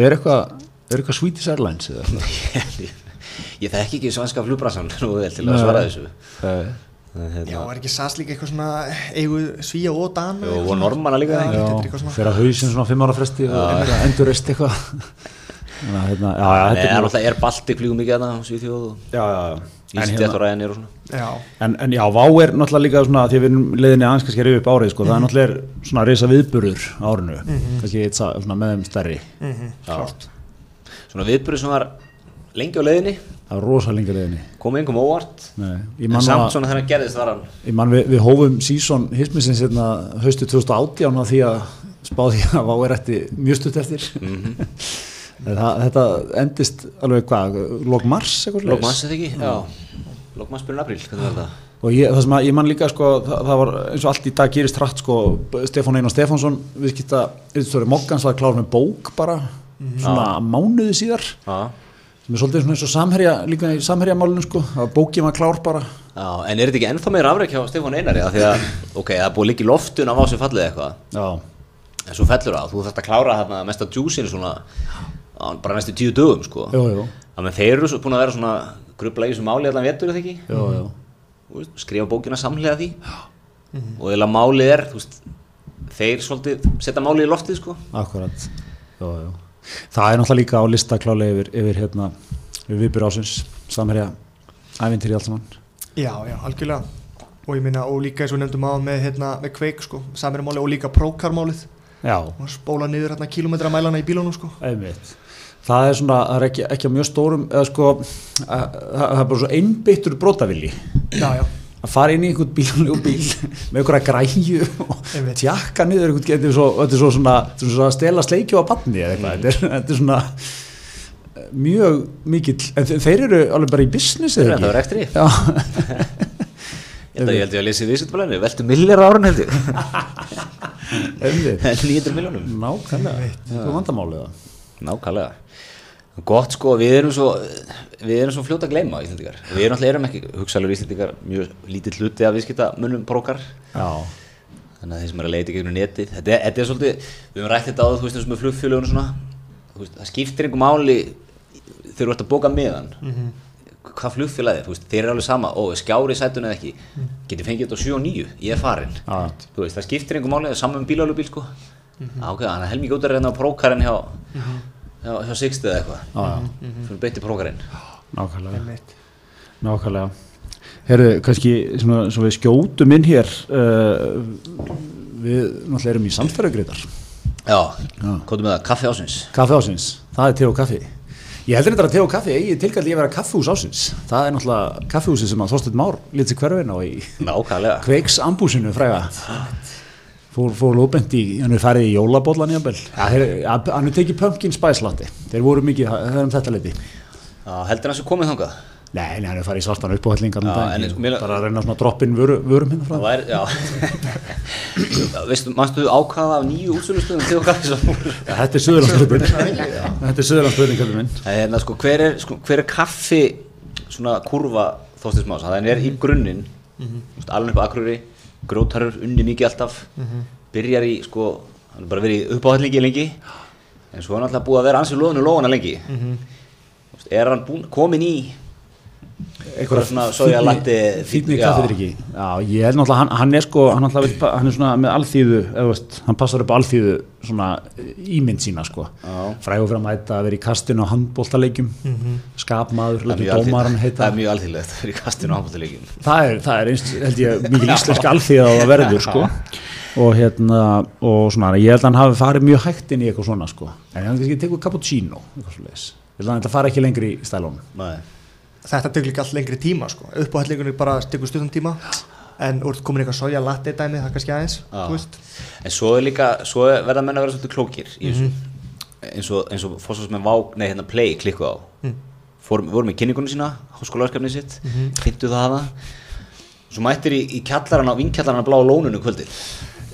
Er eitthvað, er eitthvað Swedish Airlines eða eitthvað
Ég þekki ekki svanska flugbransan nú vel til að
Nei.
svara þessu
Eh,
En
já,
hérna-
var ekki SAS líka eitthvað svona eigu svíja og dana
Jú,
eitthvað
og
svona?
Normana líka,
Já,
ekki?
Já,
þetta er eitthvað svona
fyrir að hausinn svona á fimm ára fresti og endur rest eitthvað Þannig að hérna, já, já,
Nei,
þetta
það er
er mjög-
alltaf er Baltic flugum mikið þarna á Svíþjóð og
Já, já, já En
Ísland
hérna-
og Rænir og svona
já,
En, en já, Vá er náttúrulega líka svona því að við erum leiðinni aðeins kannski að rifa upp árið sko, það er náttúrulega er svona reysa viðburður á árinu, kannski eitt sa- svona með þeim stærri
Klárt. Svona viðbyrðu sem var lengi á leiðinni,
það er rosa lengi leiðinni
kom engum óvart,
Nei, ég
en
man,
samt
að,
svona þegar hann gerðist var hann.
ég man við, við hófum sísón hismisins hérna haustu 2018 að því að spáði að Vá er eftir mjög stutt eftir
Mhm.
En það, þetta endist alveg hvað, lok mars eitthvað svoleiðis?
Lókmanns eða ekki? Já. Lókmanns byrjun apríl, hvernig var það?
og ég, það sem að ég man líka sko, það, það var eins og allt í dag gerist hratt sko, B- Stefán Einar Stefánsson viðskipta yfirstóri Moggans var klár með bók bara svona mánuði síðar
Já.
sem er svolítið svona eins og samherja líka í samherjamálunum sko, að bókin var klár bara
Já, en er þetta ekki ennþá meira afræk hjá Stefán Einari? Af Því að, ok, það er búið líka í loftun af á sem fallið eitthvað,
já,
en svo fellur það, þú þarft að klára þarna mesta djúsin svona, á bara næstu tíu dögum, sko.
jú, jú,
Já, menn þeir eru svo búin að vera svona grubla í þessu máli allan vetur, eða ekki?
jú, jú.
Þú veist, skrifa bókina samlega því og eiginlega málið er, þú veist, þeir svolítið setja málið í loftið, sko.
akkurat jú, jú. það er náttúrulega líka á lista klálega yfir, yfir hérna, yfir viðbyrð ásins samherja ævintir í allt saman
já, já, algjörlega og ég minna, og líka eins og við nefndum á með, hérna, með kveik sko, samirmálið og líka prókarmálið
já,
og spóla niður hérna kilometra mælana í bílunum sko
Einmitt. Það er svona, það er ekki, ekki á mjög stórum, eða sko, að- að- það er bara svo einbyttur brotavili
já, já,
að fara inn í einhvern bíl og bíl með einhverja græju og
Einmitt.
tjakka niður einhvern getur svo, þetta er svo svona, þetta er svo að stela sleikju á banni eða eitthvað, þetta er, þetta er svona eh, mjög mikill, en þe- þeir eru alveg bara í business
Þeir
eða
eru
ekki?
ennþá í rekstri.
Já,
Ég held að ég held ég að lesi viðsendablaðinu, veltu millir árun held ég.
einmitt,
900 miljónum.
nákvæmlega, þetta er vandamálið það.
Nákvæmlega. Gott sko, við erum svo, við erum svo fljóta að gleyma Íslandingar. Við erum alltaf erum ekki hugsalur Íslandingar, mjög lítill hluti af viðskipta munum prókar.
Já,
Þannig að þeir sem eru að leita í gegnum netið, þetta er, þetta er svolítið, við höfum rætt þetta áður, þú veist, eins og með flugfjölugun og svona, þú veist, það skiptir einhver máli þegar þú ert að bóka meðan. Hvað flugfélagið, þú veist, þeir eru alveg sama, ó, er skjári í sætun eða ekki, geti fengið þetta á 7 og 9, ég er farin.
Já.
Þú veist, það skiptir einhver máli, það er saman um bílalubíl, sko. Mm ok, þannig að helmingi út er hérna á prókarinn hjá, hjá, hjá Sixti eða
já,
eitthvað. Mhm.
já.
Fyrir beinti prókarinn.
nákvæmlega.
einmitt
Nákvæmlega. Herðu, kannski svona, svo við skjótum inn hér, uh, við náttúrulega erum í samstæðugreitar.
Já,
Já.
komdu með það, kaffi ásins.
Kaffi ásins, það er te og kaffi. Ég heldur þetta að te og kaffi eigi tilkalli að vera kaffihús ásins. Það er náttúrulega kaffihúsi sem að Þorsteinn Már lítið hverfin á í
Nákvæmlega.
kveiks ambúsinu fræga. Fór, fór lópend í, hann er farið í jólabólan í Abel. Hann er tekið pumpkin spice latte. Þeir voru mikið, það er um þetta leiti.
Já, heldur hans að komið þangað?
Nei, nei, hann er farið í svartan uppáhælling allan
Já, en
daginn.
sko, mér-
Bara að reyna svona droppin vöru, vörum hérna frá.
Það væri, já Veistu, mannstu ákvaða af nýju útsölustöðum til og gafið svo
Ja, Þetta er Suðurlandsbyrðin Þetta er Suðurlandsbyrðin, kallið minn
hérna, sko, hver, er, sko, hver er kaffi svona kurva þóstins más þannig er í grunninn
Mhm.
mm -hmm. alveg upp á akrúri, grótarur, unni mikið alltaf
Mhm.
byrjar í sko hann er bara verið í uppáhallingi lengi en svo er hann
Mhm.
alltaf búið að vera ansið loðinu lóðana lengi mm -hmm. er hann búin, komin í Eitthvað svona, sorry, að landi
fínni kaffedryggi já, ég held náttúrulega, hann, hann er sko hann, náttúrulega vill pa- hann er svona með alþýðu eða þú veist, hann passar upp á alþýðu svona ímynd sína sko
Já.
frægur fyrir að mæta að vera í kastinu á handbóltaleikjum skapmaður,
Það er
letur
mjög
dómaran
alþýðlegt-
heita
það er mjög alþýðlegt að vera í kastinu á handbóltaleikjum
það er, það er einst, held ég, mikið íslensk alþýða á það verður, sko og hérna, og svona, ég held að hann hafi farið mjög hægt inn í eitthvað svona, sko en hann kannski tekur cappuccino, eitthvað svo ég held að hann fara ekki lengri í stælónum
þetta tekur líka allt lengri tíma sko. uppáhaldleikunir bara tekur stuttan tíma en úr komin eitthvað soja latte dæmi það kannski aðeins
Já.
þú veist.
en svo er líka, svo er- verða menn að vera svolítið klókir í þessu
Mhm.
eins og, eins og fórsvarsmenn vá, nei hérna play klikku á Fórum, vorum í kynningunum sína, háskólaverkefnið sitt
Mhm.
kynntu það hana svo mættir í, í kjallarana, vinkjallarana blá lóninu kvöldið,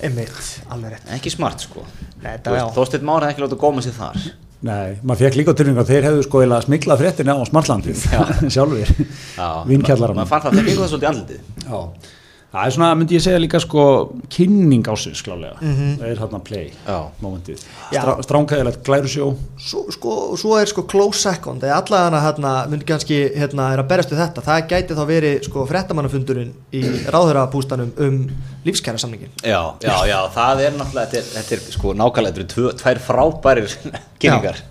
einmitt, alveg rétt
ekki smart sko
Nei, þetta- já.
Þorsteinn Már hefði ekki látið að góma sér þar
Nei, maður fekk líka á tilfinningu að þeir hefðu sko eða smiklað fréttina á smartlandið sjálfur,
Já, ma-
vinkjallarann
maður fann það, þeir fengu það svolítið í andlitið
Já, það er svona, myndi ég segja líka sko kynning ásins klálega það er hérna play,
Já.
momentið
Já.
Strá, stránkæðilegt glærusjó
svo, sko, svo er sko close second eða allavega hérna, myndi kannski hérna, er að berjast við þetta, það gæti þá verið sko frettamannafundurinn í ráðherrabústanum um lífskæra samningin
já, já, já, það er náttúrulega þetta er, þetta er sko nákvæmlega, þetta eru tvö- tvær frábærir kynningar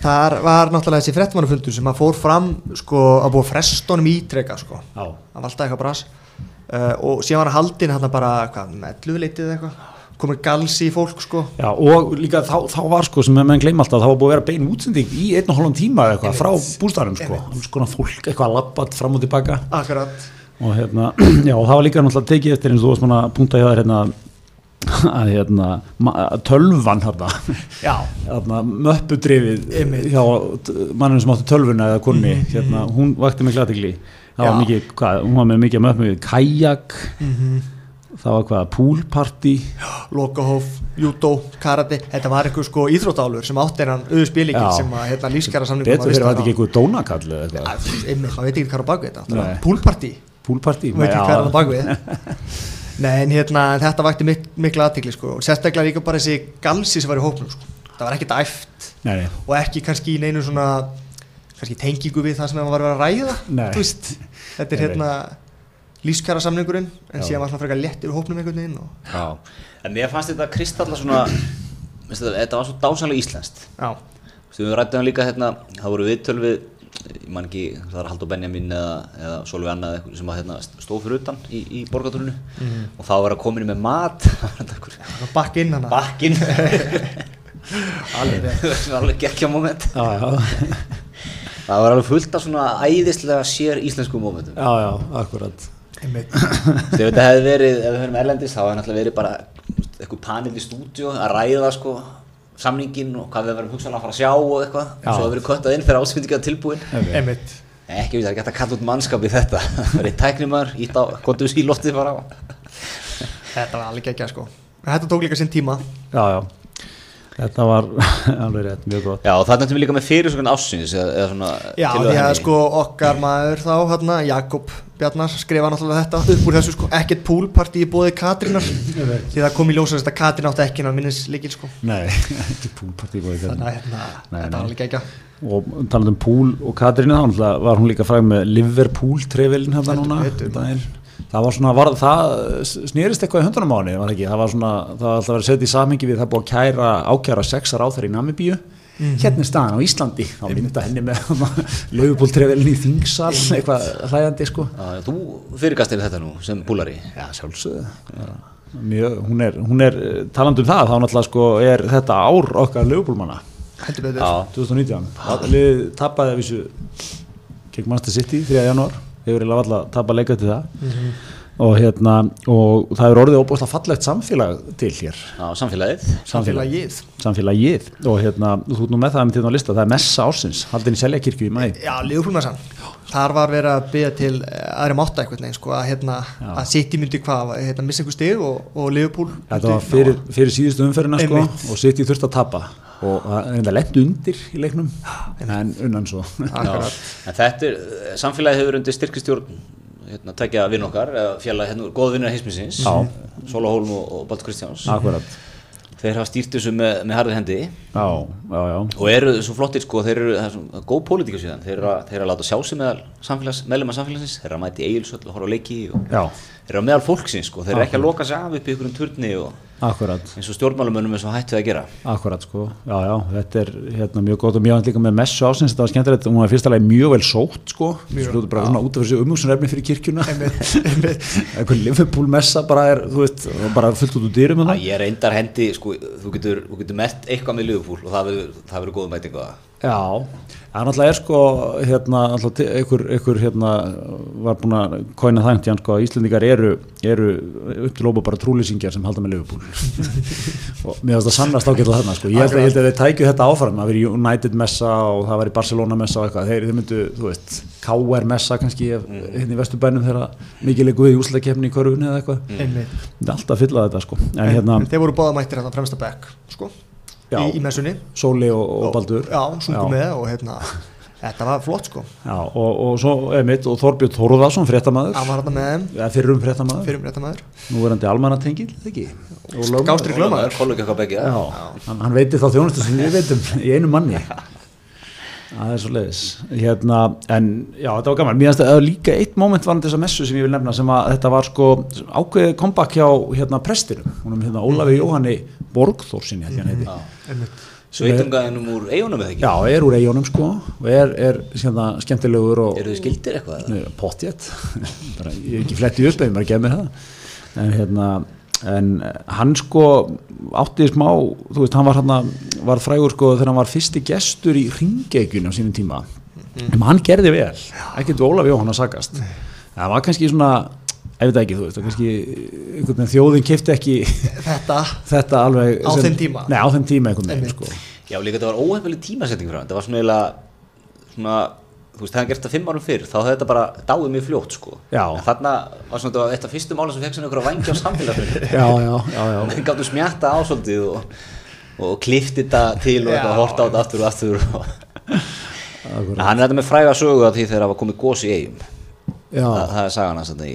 þar var náttúrulega þessi frettamannafundur sem að fór fram sko að búa frestunum ítreka sko,
Já.
hann var alltaf eitthvað bras uh, og síðan var hann haldinn hérna bara hvað, melluvleitið eitthvað komið galsi í fólk sko
Já, og líka þá, þá var sko sem menn gleyma alltaf, þá var búið að vera bein útsending í einn og hálfum tíma eða eitthvað frá bústæðanum sko, alls konar fólk eitthvað labbat fram og tilbaka
akkurat
og hérna, já, og það var líka náttúrulega tekið eftir eins og þú varst svona að punta hjá þér hérna að hérna, ma- að tölvan hérna,
Já.
hérna möppudrifið
Einmitt.
hjá mannum sem áttu tölvuna eða konni, hérna, hún vakti miklu aðtegli, það var
Já.
mikið hvað, hún var með mikið möppu, kajak það var hvað, poolparty
lokahóf, júdó, karate þetta var einhver sko íþróttálur sem átti hennan auðu spilíkinn
Já.
sem að hérna lífskæra samningum
betur fyrir að þetta ekki eitthvað dónakall eða eitthvað,
einmitt, maður veit ekki hvað er á bakvið þetta
Nei.
náttúrulega. poolparty,
poolparty
maður veit ekki
já,
hvað er á bakvið nei en hérna en þetta vakti mik mikla aðtikli sko og sérstaklega líka bara þessi galsi sem var í hópnum sko það var ekki dæft
nei, nei,
og ekki kannski í neinu svona kannski tengingu við það sem maður var að vera að ræða
Nei.
þú veist, þetta er
Nei,
hérna lífskæra samningurinn en
Já.
síðan var svona frekar létt yfir hópnum einhvern veginn og
Já, en mér fannst þetta kristalla svona, minnst þetta, þetta var svo dásanlega íslenskt.
já,
Þú veist, við rættum líka hérna, það voru viðtöl við, ég man ekki, það var Haldur Benjamin eða, eða Solveig Anna eða eitthvað sem að hérna stóð fyrir utan í, í borgartúrinu
Mhm.
og það var að koma inn með mat, það var þetta einhver
það var bakk inn hana
bakkinn,
alveg rétt.
það var alveg gekkja moment.
já, já
Það var alveg fullt af svona æðislega sér íslensku momentum.
já, já, akkurat
Einmitt.
Þú veist, ef þetta hefði verið, ef við höfum erlendis, þá hefði náttúrulega verið bara þú veist, eitthvað panel í stúdíu að ræða sko samningin og hvað við verðum hugsanlega að fara að sjá og eitthvað,
Já.
svo hefur verið köttað inn þegar ásmyndi ekki að tilbúin.
Einmitt.
Nei, ekki við það er ekki hægt að kalla út mannskap í þetta, það er tæknumar, ít á, gotum við í loftið bara á.
þetta var alveg ekki sko en þetta tók líka sinn tíma
Já, já, þetta var alveg rétt, mjög gott.
Já, og það nefndum við líka með fyrirsökun ásyns eða, eða svona
Já,
tillögu
því að
henni.
sko okkar maður þá, hérna, Jakob Bjarnar skrifa náttúrulega þetta upp úr þessu sko, ekkert púlparti í bóði Katrínar því það kom í ljósa þess að Katrín átti ekki náttúrulega minnisleikil sko,
Nei, þetta er púlpartí búið
þannig
þetta.
að hérna,
Nei,
þetta
nei.
var alveg ekki
Og talað um púl og Katrínu þá, náttúrulega var hún líka fræg með Liverpool trefilin hérna
Heldur
núna.
betur.
um daginn. Það var svona, var, það snýrist eitthvað í höndunum á henni, var það ekki? Það var svona, það var alltaf verið að setja í samhengi við það er búið að kæra, ákjæra sexar á þær í Namibíu.
Mhm.
Hérna er staðan á Íslandi, þá mynda henni með Liverpool trefilin í þingsal, eitthvað hlægandi sko.
Já, já, þú fyrirgast yfir þetta nú sem búlari.
Já, sjálfsögðu Bara Mjög, hún er, hún er eh, talandi um það þá náttúrulega sko er þetta ár okkar lögbólmanna
heldur betur
Já,
2019 Lið tapaði af þessu gegn Manchester City 3. janúar hefur eiginlega alltaf tapað leika til það og hérna og það er orðið óbúslega fallegt samfélag til hér
já, samfélagið.
Samfélagið.
samfélagið og hérna þú ert nú með það með þetta á lista það er messa ársins haldin í Seljakirkju í maði
Já, Leopoldmessan, þar var verið að byggja til aðri mátta eitthvað neginn sko, að hérna,
Já.
að City myndi hvað, hérna, missa einhver stig og, og Leopold
Þetta var fyrir, fyrir síðustu umferðina sko,
Einmitt.
og sitt í þurft að tapa og það er enda lent undir í leiknum en unnan svo
Já,
Akkurat.
en þetta er, samfélagið hefur undir styrkistjórn hérna, tækja vinn okkar, eða félag hérna, góða vinnur heimsminsins,
Já.
Sóla Hólm og, og Baldur Kristjáns
Akkurat
þeir hafa stýrt þessu með, með harði hendi
já, já, já
og eru svo flottir sko, þeir eru það er svona góð pólitíka síðan, þeir eru, að, þeir eru að láta sjá sig meðal samfélags, meðlema samfélagsins, þeir eru að mæti eigilsöll og horfa á leiki og
Já.
þeir eru að meðal fólksins sko, þeir eru ekki að loka sig af upp í ykkur um turni og
Akkurat,
eins og stjórnmálumönnum er svo hættu að gera.
akkurat sko, já, já, þetta er hérna mjög gott og mjög aðeins líka með messu ásins, þetta var skemmtilegt, hún var fyrsta lagi mjög vel sótt sko, mjög, svo, bara svona út af þessu umhugsunarefni fyrir kirkjuna, eitthvað Liverpool messa bara er, þú veist, bara fullt út úr dyrum
Æ,
hérna.
ég reyndar hendi, sko, þú getur, þú getur mert eitthvað með liðupúl og það verður, það verður góð mæting á það.
Já, það náttúrulega er sko hérna, náttúrulega til- einhver, einhver hérna var búin að kóina þangt í hann sko að Íslendingar eru, eru upp til lópa bara trúlýsingjar sem halda með Liverpool og mér finnst það sannast ágætla þarna sko, ég held, að, ég held að þeir tækju þetta áfram það veri United messa og það veri Barcelona messa og eitthvað, þeir, þeir myndu, þú veist KR messa kannski, ef-
Mm.
hérna í vesturbænum þegar mikið leikur við í úslakefni í körfunni eða eitthvað,
einmitt
þetta er alltaf að fylla þetta sko, en hérna,
Mm. þeir voru báða mættir hérna fremsta bekk sko,
Já.
í, í messunni
Sóli og, og Baldur
já, sungum með það og hérna þetta var flott sko,
Já, og, og svo emitt og Þorbjörn Þóruðarsson, fréttamaður
hann var hérna með þeim
eða fyrir um fréttamaður,
fyrir um rétta maður
nú verandi almannatengil ekki, og lögum
Gástri glömaður
Kollega eitthvað begja.
já, hann, hann veitir þá þjónustu sem við veitum í einu manni það er svo leiðis hérna, en já, þetta var gaman mér finnst að það var líka eitt moment varandi þessa messu sem ég vil nefna sem að þetta var sko ákveðið kompakk hjá hérna prestinum húnum hérna Ólafi Jóhanni Borgþórsinni held ég hann heiti
Sveitungaðinum úr eigunum eða ekki?
já, er úr eigunum sko og er, er hérna, skemmtilegur og,
Eru þið skildir eitthvað? eða?
potjett bara, ég er ekki flett í upp ef ég maður gemir það en hérna en hann sko átti smá, þú veist, hann var hérna var frægur sko þegar hann var fyrsti gestur í ringeikjunni á sínum tíma
Mm.
en hann gerði vel, ekkert við Ólaf Jóhann að sakast, það var kannski svona ég veit ekki, þú veist, það kannski einhvern veginn þjóðin kefti ekki
þetta,
þetta alveg
Á þeim tíma?
Nei, á þeim tíma einhvern veginn,
Einmitt.
sko
Já, líka þetta var óhefnileg tímasetning frá hann. Það var svona eiginlega, svona, þú veist, það hann gert það fimm árum fyrr, þá hefði þetta bara dáið mjög fljótt, sko.
Já.
En þarna var svona, þetta var eitt af fyrstu mála sem fekk svona ykkur að vangja á samfélaginu.
Já, já, já, já
Þeir gáttu smjatta á svolítið og, og klifti þetta til og
Já.
eitthvað, horta á þetta aftur og aftur. Og... En hann er þetta með fræga sögu að því þegar það var komið gos í eigum.
Já,
Þa, það er sagan hans þarna í,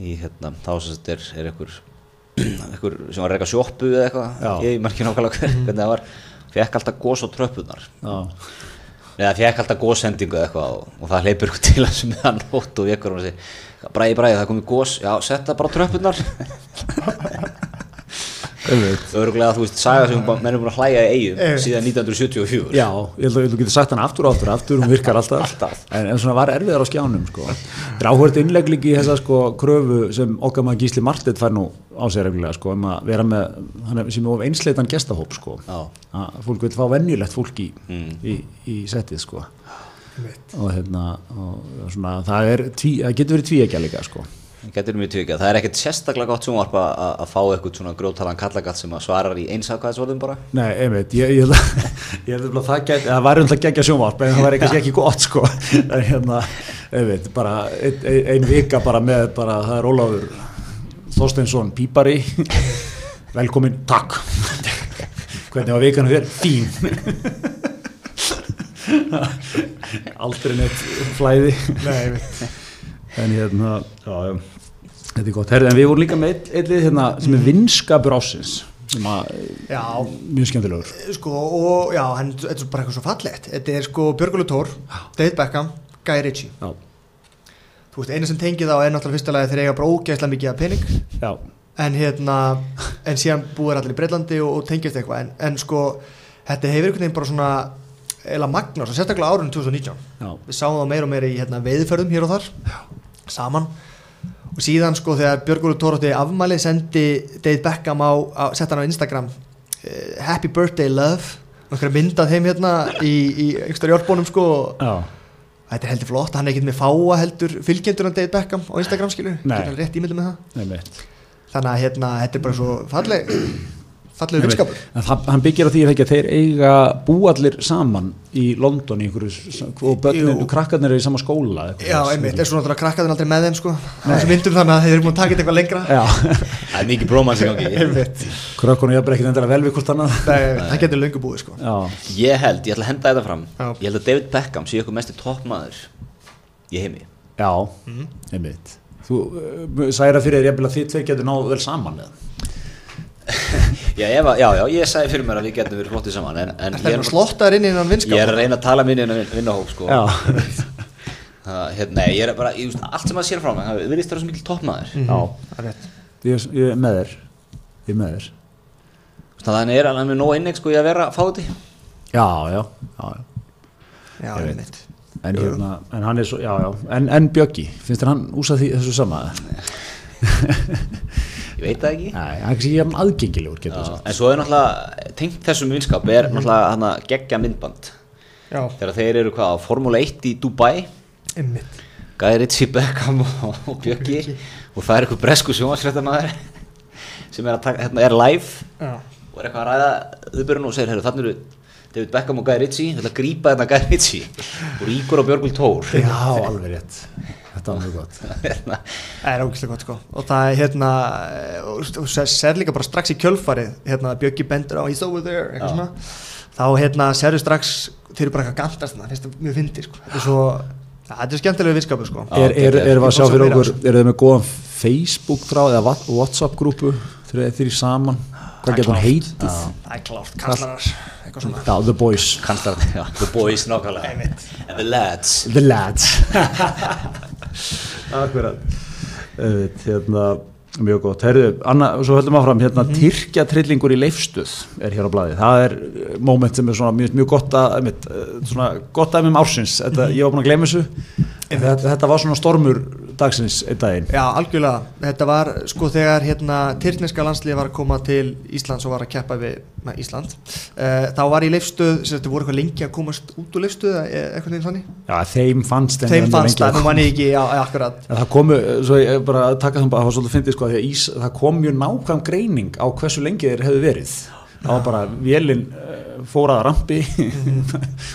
í hérna, þá sem þetta er, er einhver, einhver sem var að reyka sjoppu eða
Já. Mhm.
eitthvað, ég margir nákvæmlega hver, hvernig það var, fekk alltaf gos á tröppunar,
já
eða fekk alltaf gosendingu eða eitthvað og, og það hleypur ykkur til hans með hann ótt og ekkur og hann segir bræði bræði það er komið gos, já setta bara á tröppunar
Einmitt.
öruglega þú veist saga sem bara- menn er búin að hlæja í eigum
Einmitt.
síðan 1974
Já, ég held að þú getur sagt hann aftur og aftur og aftur, hún virkar alltaf,
Alltaf.
En, en svona var erfiðar á skjánum sko. Það er áhverjt innlegg líka í þessa sko, kröfu sem okkar maður Gísli Martett fær nú á sig reglulega sko, um að vera með hann er- sem er of einsleitan gestahóp sko.
Já. Mm.
að fólk vil fá venjulegt fólk í, í, í settið sko. og, hérna, og svona, það, er tví, það getur verið tvíegja líka sko.
Getur mjög tvikið, það er ekkert sérstaklega gott sjónvarp að, að- að fá eitthvað svona grótalan kallagatt sem að svarar í einsakvæðsvöldum bara
Nei, einmitt, ég, ég, held að- ég held að það, get, það væri alltaf geggja sjónvarp en það væri kannski ekki gott sko en hérna, einmitt, bara ein, ein, ein vika bara með, bara það er Ólafur Þorsteinsson Pípari velkomin, takk hvernig var vikan þér? Fín aldrei neitt flæði
nei, einmitt.
en hérna, já, já þetta er gott, herri, en við vorum líka með eitt, eitt lið hérna sem er vinskapur ásins sem að,
já,
mjög skemmtilegur
sko, og já, hann, þetta er bara eitthvað svo fallegt þetta er sko Björgulur Tór, David Beckham Guy Ritchie,
já,
þú veist, eina sem tengið þá er náttúrulega fyrsta lagi þeir eiga bara ógæslega mikið að pening
já
en hérna, en síðan búir allir í Breitlandi og, og tengjast eitthvað, en, en sko þetta hefur einhvern veginn bara svona eila magna, svo sérstaklega árunum 2019
Já.
við sáum það meira og meira í hérna, veiðferðum hér og þar, Já. saman og síðan sko þegar Björgur Tórótti afmæli sendi Dave Beckham á, á sett hann á Instagram eh, Happy Birthday Love einhverja myndað heim hérna í, í einhverjar hjálpunum sko og
Já,
þetta er heldur flott, hann er ekkert með fáa heldur fylgjendur hann Dave Beckham á Instagram skilu,
Nei.
getur hann rétt ímyndum með það
einmitt.
þannig að hérna, þetta er bara svo falleg fallegur vinskapur
En það, hann byggir á því er það ekki að þeir eiga búallir saman í London í einhverju, s- og börnin
Jú.
og krakkarnir eru í sama skóla eitthvað
já,
svoleiðis.
einmitt, er svo náttúrulega krakkaðin aldrei með þeim sko þessum myndum þannig að þeir eru múin að taka þetta eitthvað lengra
Já,
Það er mikið brómans í gangi
einmitt,
krökkunum jafnir ekkert endilega vel við hvort annað
Nei, einmitt, það getur löngu búið sko
Já,
Ég held, ég ætla að henda þetta fram
Já.
Ég held að David Beckham sé ykkur mesti toppmaður í heimi
já,
Mhm.
einmitt eh, Þú uh, særa fyrir þér jafnvel að þið tveir getur náðu vel saman eða?
Já, ef, að- já, já, ég sagði fyrir mér að við getum verið flottir saman en, en
Það
ég,
er
er,
slottaður inn innan
ég er
vinskap
að reyna að tala minni en að vinna hóp sko.
Já.
Það, hérna, nei, ég er bara, ég, veist, allt sem að sér frá mig, það virðist vera svo mikil toppmaður mm.
Það er rétt.
ég, ég er með þér ég er með þér
þannig er alveg með nóg inneik sko, í að vera fáti
já, já, já, já.
Já,
Ég veit.
einmitt.
En, hérna, en hann er svo, já, já, en, en Bjöggi, finnst þér hann úsa því þessu sama?
ég veit það ekki
Nei, hann er kannski ekki jafn aðgengilegur, getur
Já,
þú sagt.
en svo er náttúrulega, tengt þessum vinskap er náttúrulega hann að gegja myndband
Já,
þegar þeir eru hvað, á Formule 1 í Dubai
einmitt
Guy Ritchie Beckham og, og Bjöggi og það er einhver bresku sjónvarsfréttamaður sem er, að taka, hérna, er live
Já.
og er eitthvað að ræða viðbjörn og segir, herru, þannig eru David Beckham og Guy Ritchie, ég ætla að grípa þetta Guy Ritchie og ríkur og Björgul Tór
Já, alveg rétt. Þetta var mjög gott.
Hérna,
Það er ógæslega gott sko og það er hérna og, og sér- sér líka bara strax í kjölfarið hérna Bjöggi bendur á he's over there eitthvað svona þá hérna sérðu strax þeir eru bara eitthvað gandast þannig finnst það mjög fyndi sko þetta er svo ja, þetta er skemmtilega vinskapu sko
Já,
Er, er,
geggjað.
erum við að sjá fyrir
Ég fór svo
okkur, eru þið með góðan Facebook-þráð eða Wha- WhatsApp-grúpu þegar þeir eru saman? Hvað getur hann heitið?
það er klárt kallarar eitthvað svona
Já, The Boys.
kanslar, já, the boys nákvæmlega
Einmitt.
and the lads
The Lads. Akkurat. Öðvitt, hérna, mjög gott. Herðu, Anna, svo höldum áfram, hérna, mm Tyrkjatrillingur í leifstuð er hér á blæði. Það er eh, moment sem er svona mjög, mjög gott að, einmitt, eh, svona gott aðeimum ársins. Þetta, ég var búin að gleyma þessu. Þetta, þetta var svona stormur dagsins einn daginn.
Já, algjörlega. Þetta var sko þegar hérna tyrkneska landslið var að koma til Íslands og var að keppa við na, Ísland. Uh, þá var í leifstöð, sem þetta voru eitthvað lengi að komast út úr leifstöð, eða eitthvað neins þannig.
Já, þeim fannst en
Þeim
en
fannst
lengi að
það, nú
koma.
mann ég ekki, já, já, akkurat.
En það komu, eh, svo ég bara að taka þannig að það var svolítið fyndið sko því að ís, það kom mjög nákvæm greining á hversu lengi þeir hefðu verið það var bara, vélinn eh, fór að rampi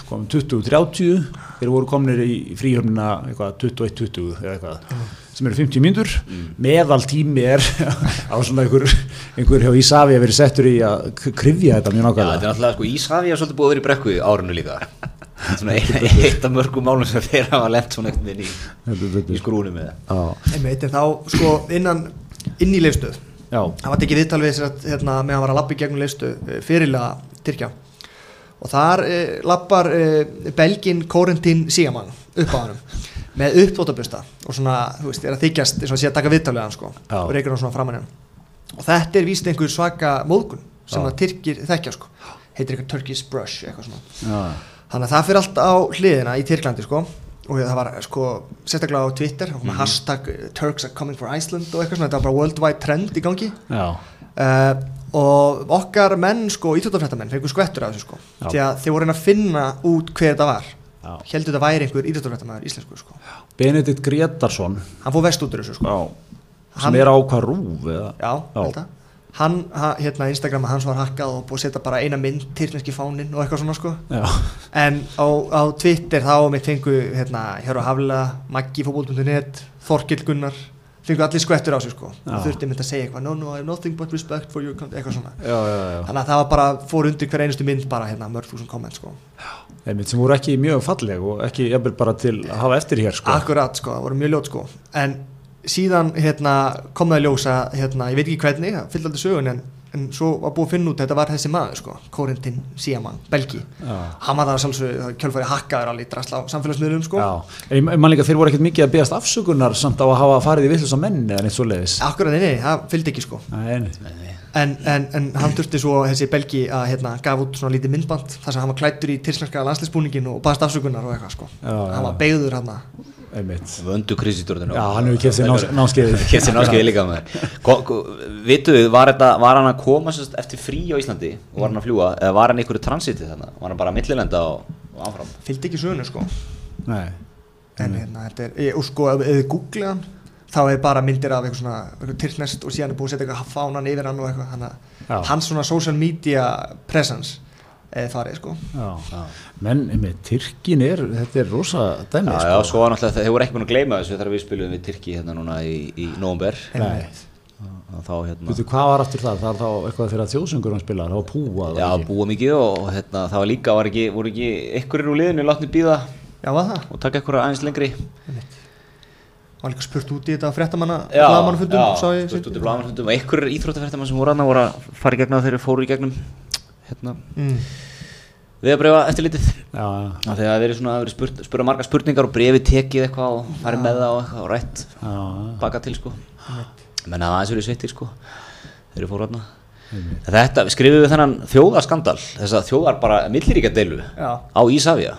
kom 20-30 þeir voru komnir í fríhöfnina eitthvað 21-20 eða eitthvað sem eru 50 mínútur, meðal tími er á svona einhver, einhver hjá Ísafi að vera settur í að k- krifja þetta mjög
Já, þetta
nákvæmlega
er náttúrulega, sko, Íshafi er svolítið búið að vera í brekku í árinu líka Svona ein- eitt af mörgum málum sem þeir hafa lent svona einhvern veginn í,
Heldur
í
betur.
skrúnum með
Já,
Einmitt, en þá sko innan, inn í leifstöð,
já,
það var tekið viðtal við sér að hérna meðan hann var að lappa í gegnum leifstöð fyrirlega Tyrkja. Og þar uh, lappar uh, Belgin Corentin Sigaman upp á hannum með uppþóttabusta og svona, þú veist, er að þykjast eins og að sé að taka viðtal við hann sko
Já.
og reykur hann svona framan í hann. Og þetta er víst einhver svaka móðgun sem
Já.
að Tyrkir þekkja sko, heitir eitthvað Turkish Brush eitthvað svona.
já,
Þannig að það fyrir allt á hliðina í Tyrklandi sko og það var sko sérstaklega á Twitter það kom
Mhm.
mm. hashtag eh, Turks are coming for Iceland og eitthvað svona, þetta var bara worldwide trend í gangi
já.
uh, og okkar menn sko, íþjóttafrættamenn fengur skvettur af þessu sko
Já.
því að þeir voru að finna út hver þetta var
Já.
heldur þetta væri einhver íþjóttafrættamæður íslensku sko
Benedikt Gretarsson
hann fór vest út úr þessu sko
já, sem
Hann-
er á hvað rúf eða?
já, held að hann, ha- hérna Instagrama hans var hakkað og búið að setja bara eina mynd tyrkneski fáninn og eitthvað svona sko
já.
En á, á Twitter þá mitt fengu hérna, Hjörðu Hafla, Maggi fótból.net, Þorkil Gunnar fengu allir skvettur á sig sko
Já.
og þurfti mynd að segja eitthvað no no I have nothing but respect for you eitthvað svona
já, já, já.
þannig að það var bara fór undir hver einustu mynd bara hérna mörg þúsund komment sko
Einmitt, sem voru ekki mjög falleg og ekki jafnvel bara til að hafa eftir hér sko.
akkurat sko það voru mjög ljót sko en síðan hérna kom það í ljósa hérna ég veit ekki hvernig það fyllt aldrei sögun en, en svo var búið að finna út að þetta var þessi maður sko Corentin Siaman Belgi
Já.
hann var það sjálfsög kjölfari hakkaður alveg í drasla á samfélagsmiðlum sko
Já, en ég- ég man líka þeir voru ekkert mikið að beðast afsökunar samt á að hafa farið í vittlösa menn eða neitt svo leiðis
Akkurat, nei, nei, það fylgdi ekki sko
Já,
en, en, en hann þurfti svo þessi belgi að hérna, gaf út svona lítið myndband þar sem hann var klættur í tirslenska landslisbúningin og baðast afsökunar og eitthvað sko
Já, já.
hann var beigður hann
einmitt
Vöndu krisitúrðinu
Já, hann hefur keypt sér náms- námskeiðið.
Keft sér námskeið líka maður Vitu, var, þetta, var hann að koma sérst, eftir frí á Íslandi og var hann að fljúa eða var hann í einhverju transiti þannig var hann bara að millilenda og, og áfram
fylgdi ekki sögunu sko en
Nei. Mm.
hérna, þetta er, ég, og sko ef ef þið googla hann þá er bara myndir af eitthvað svona eitthvað tirsnest og síðan er búið að setja eitthvað fánan yfir hann og eitthvað hann
Já.
að hans svona social media presence eða farið sko
Já. menn, einmitt, Tyrkin er þetta er rosa dæmi sko.
Já,
sko.
sko. já, svo var náttúrulega, þeir voru ekki búin að gleyma þessu þegar við spilum við Tyrki hérna núna í, í nómber
Nei.
þá hérna
Veitu, hvað var aftur það? Það var þá eitthvað þegar þjóðsöngur hann spilar, það var púa
Já, búa mikið og hérna, það var líka, var ekki, voru ekki einhverjir úr liðinu látni býða
já var það
og taka einhverja aðeins lengri
var líka spurt út í þetta fréttamanna
Já,
blaðamannafundum,
já,
sá ég
spurt
sýnt.
út í blagamannfundum og einhverjir íþróttafréttamann sem voru aðna voru að fara í gegnum þegar þeir fóru í gegnum hérna,
Mm.
við að breyfa eftir litið
já,
þegar það hefur verið svona, það hefur verið spurt, spurða marga spurningar og brefi tekið eitthvað og farið með það og eitthvað og rætt
já, já,
baka til sko menna það aðeins verið sveittir sko þeir eru fóru aðna þetta, við skrifum við þennan þjóðaskandal þess að þjóðar bara milliríka
Já.
á Ísafja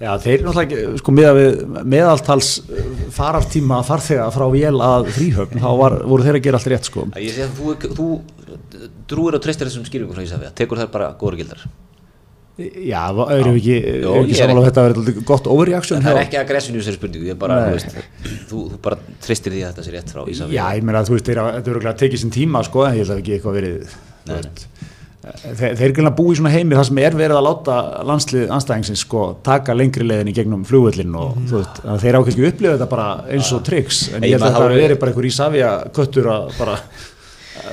já, þeir eru náttúrulega ekki, sko meða við meðaltals eh, farartíma farþega frá vél að fríhöfn þá var, voru þeir að gera allt rétt sko
Ég sé að þú, þú drúir og treystir þessum skýringum frá Ísafja, tekur þær bara góður gildar.
já, va- erum við ekki,
Jó,
erum við
ég
ekki
er
samanlega þetta að vera eitthvað gott overreaction
Það er
hjá-
ekki aggressin í þessari spurningu, ég bara,
Nei.
þú veist, þú, þú bara treystir því að þetta sé rétt frá Ísafja.
Já, ég meina að þú veist, þeir hafa- þetta eru ekki að tekið sinn tíma sko, en ég held að ekki eitthvað verið þú veist. Eh, Þeir, þeir gæla búi í svona heimi þar sem er verið að láta landslið anstæðingsins sko, taka lengri leiðin í gegnum flugvöllin og þú veist, að þeir hafa kannski upplifað þetta bara eins og triks, en ég held að
Ég meina,
þetta
þá-
hafi verið bara einhver Ísafja köttur að bara,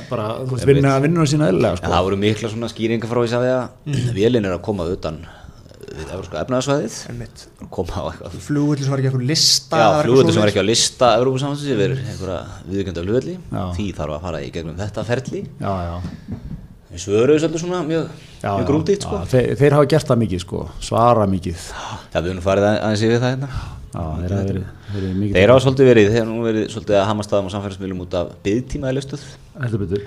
bara þú veist, vinna vinnuna sína eðlilega
En
sko.
það voru mikla svona skýringar frá Ísafja,
Mhm.
vélinn er að koma utan við Evrópska efnaðarsvæðið,
Einmitt.
koma á eitthvað.
flugvöldur sem var ekki eitthvað
Já,
lista eða eitthvað
flugvöldu sem er
svoleiðis.
ekki á lista Evrópusamhansins yfir einhverja viðkjönda flugvöldi,
Já.
því þarf að fara í gegnum þetta ferli.
Já, já.
Við svöruðu svolítið svona mjög,
Já,
mjög
já,
grútið, sko.
já, þeir, þeir hafa gert það mikið sko, svara mikið
Já, við höfum farið aðeins yfir það hérna.
Já, þeir hafa verið, verið mikið
Þeir hafa svolítið verið, þeir hafa nú verið svolítið að hama staðum á samfélagsmiðlum út af byggtíma í löstuð
Heldur betur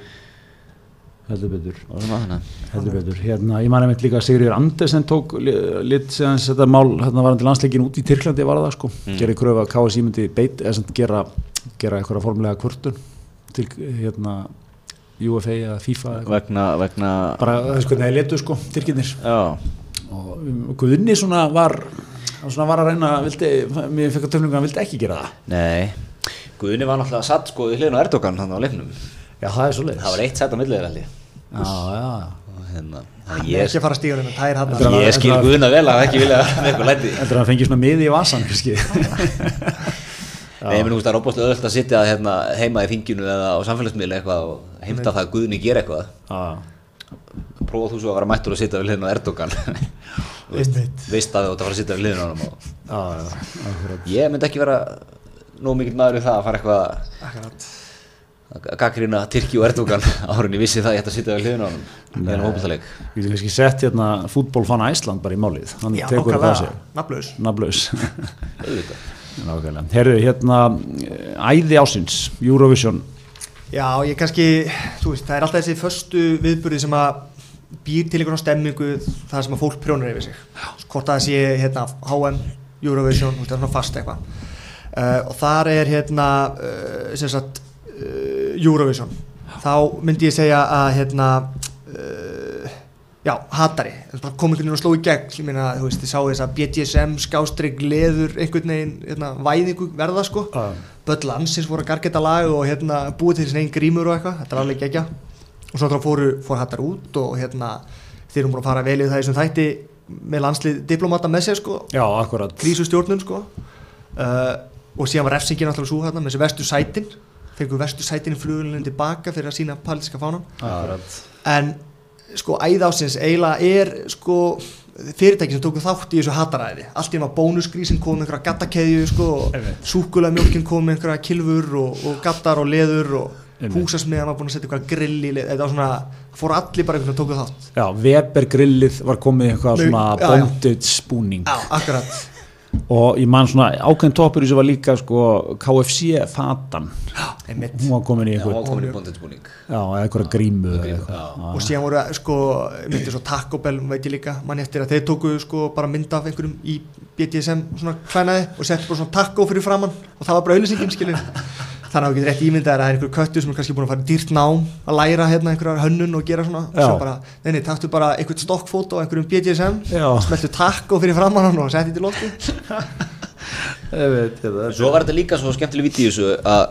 Heldur betur
og svona þannig.
Heldur betur, hérna, ég man einmitt líka að Sigriður Andersen tók li- lit séðan þetta mál, hérna var hann til landsleikin út í Tyrklandi var það sko,
Mm.
gerði kröfu að KSI myndi beit, eða sem gera, gera einhverja formulega kvörtun til hérna UFA eða FIFA eða eitthvað.
Vegna, vegna,
bara þess hvernig þeir letu sko, Tyrkinir
já,
og um, Guðni svona var hann svona var að reyna, vildi, mér fekk að töfninga hann vildi ekki gera það,
nei. Guðni var náttúrulega satt sko í hliðin á Erdogan þannig á leiknum.
já það er svo leiðis
Það var eitt sætt á milliðir allir.
já, já,
Og hérna, þannig
Hann er
ég,
ekki að fara stíðunum en það er hann
að-
ég skil
þetta var-
Guðna vel að ekki vilja vera með eitthvað lætið.
heldur að hann fengi svona miði í vasan kannski,
Nei, menn, þú veist, það er óbúslega öðvöld að sitja hérna, heima í þinginu eða á samfélagsmiðli eitthvað og heimta það að Guðni gera eitthvað.
já
Prófa þú svo að vera mættur að sitja við hliðin á Erdogan. Þú veist, veist að þú ætti að fara að sitja við hliðin á honum og
Já, já, akkurat
Ég myndi ekki vera nóg mikill maður í það að fara eitthvað
akkurat
að gaggrina Tyrki og Erdogan árun ég vissi það að ég ætti að sitja við hliðin á hann en hópaðleik
Við getum kannski sett hérna fútbólfanna Æsland bara í málið, hann
já,
tekur það á
okkarlega,
sig
nafnlaus
nafnlaus Nákvæmlega, herru hérna eh, æði ásins, Eurovision
já, ég kannski, þú veist, það er alltaf þessi föstu viðburði sem að býr til einhvern stemmingu þar sem að fólk prjónar yfir sig hvort að það sé hérna HM, Eurovision, þú veist, það er svona fast eitthvað uh, og þar er hérna uh, sem sagt uh, Eurovision þá myndi ég segja að hérna uh, já, hatari Þetta bara kom einhvern veginn og sló í gegn ég meina, þú veist, ég sá þess að BDSM skástrík leður einhvern veginn hérna, væðingu verða sko
Já.
Böll Ansins voru að gargeta lag og hérna búið til þessin einn grímur og eitthvað þetta er alveg gegja og svo þá fóru fór hattar út og hérna þeir eru bara að fara að velja það í þessum þætti með landslið diplomata með sér sko
Já, akkurat
krísustjórnun sko uh, og síðan var refsingin alltaf svo hérna með þessi vestu sætin fengur vestu sætin í flugulunum tilbaka fyrir að sína palitiska fánan
Akkurat
en sko æðásins eiginlega er sko fyrirtæki sem tóku þátt í þessu hataræði allt í hann var bónusgrísin kom með einhverja gattakeðju sko og
Einmitt.
súkulega mjölkin kom með einhverja kilfur og, og gattar og leður og
Einmitt.
húsasmiðan var búin að setja einhverja grill í leð þetta var svona, fór allir bara einhvern veginn og tóku þátt
Já, Weber grillið var komið í eitthvað
Nei,
svona
já, já.
bondage spúning
já, akkurat
og ég man svona ákveðin toppur í þessu var líka sko KFC fatan
einmitt
hún var komin í
og
eitthvað
hann komin í bóndinsbúning
Já, eða eitthvað grímu eða
Grímu,
eitthvað.
já.
og síðan voru sko, myndir svo Taco Bell veit ég líka, mann eftir að þeir tóku sko bara mynda af einhverjum í BDSM svona klænaði og settu bara svona taco fyrir framann og það var bara auðlýsingin skilur þannig að þú getur rétt ímyndað þér að það er einhver köttu sem er kannski búin að fara í dýrt nám að læra hérna einhverjar hönnun og gera svona og svo
Já.
bara, nei, nei, taktu bara einhvern stokkfót á einhverjum BDSM,
Já.
smeltu taco fyrir framann hann og setti þetta í lofti
Ég veit, þetta er-
Svo var þetta líka svo skemmtileg viti í þessu að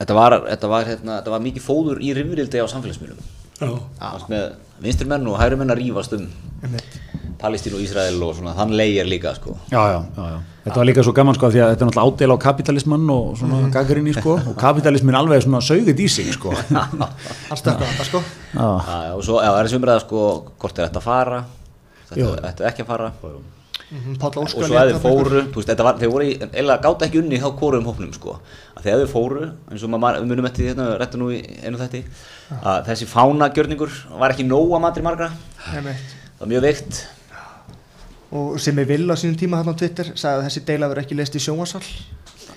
þetta var, þetta var, hérna, þetta var mikið fóður í rifrildi á samfélagsmiðlum Þú veist, með vinstri menn og hægri menn að rífast um
Einmitt.
Palestín og Ísrael og svona þann leigir líka sko
Já, já, já, já. Þetta var líka svo gaman sko af því að þetta er náttúrulega ádela á kapitalismann og svona
Mhm.
mm. sko og kapitalismin alveg svona sögðið í sig sko.
hann stökk á þetta sko
Já, Ah.
Já, já, og svo já, það er þessi umræða sko hvort er þetta að fara þetta,
Jú.
þetta er ekki að fara
Mhm, Páll Óskar sko.
og svo að þeir fóru, þú veist, þetta var, þeir voru í, eða gátt ekki unni hjá kóruðum hópnum, sko að þegar þeir fóru, eins og maður, við munum eftir því hérna, réttu nú í einu þætti
Ah.
að þessi fánagjörningur var ekki nóg að matri margra, það var mjög veikt
og sem er vill á sínum tíma hann á Twitter sagði að þessi deila verið ekki leist í sjónvarsal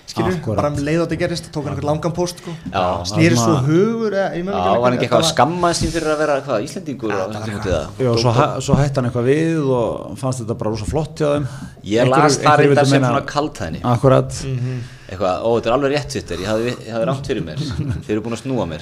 skilur,
Akkúrat.
bara um leið á þetta gerist tók hann eitthvað langan post sko.
Já,
snýri svo
þarna-
hugur eða, ég
Já,
man ekki
var hann ekki
þetta
eitthvað að skamma sín fyrir að vera hvað, Íslendingur á þessum tíma til það?
Já, svo, hæ- svo hætti hann eitthvað við og fannst þetta bara rosa flott hjá þeim
Ég las það reyndar sem svona Mm. kaldhæðni
Akkurat
Eitthvað, ó, þetta er alveg rétt Twitter, ég hafði, ég hafði rámt fyrir mér Þeir eru búin að snúa mér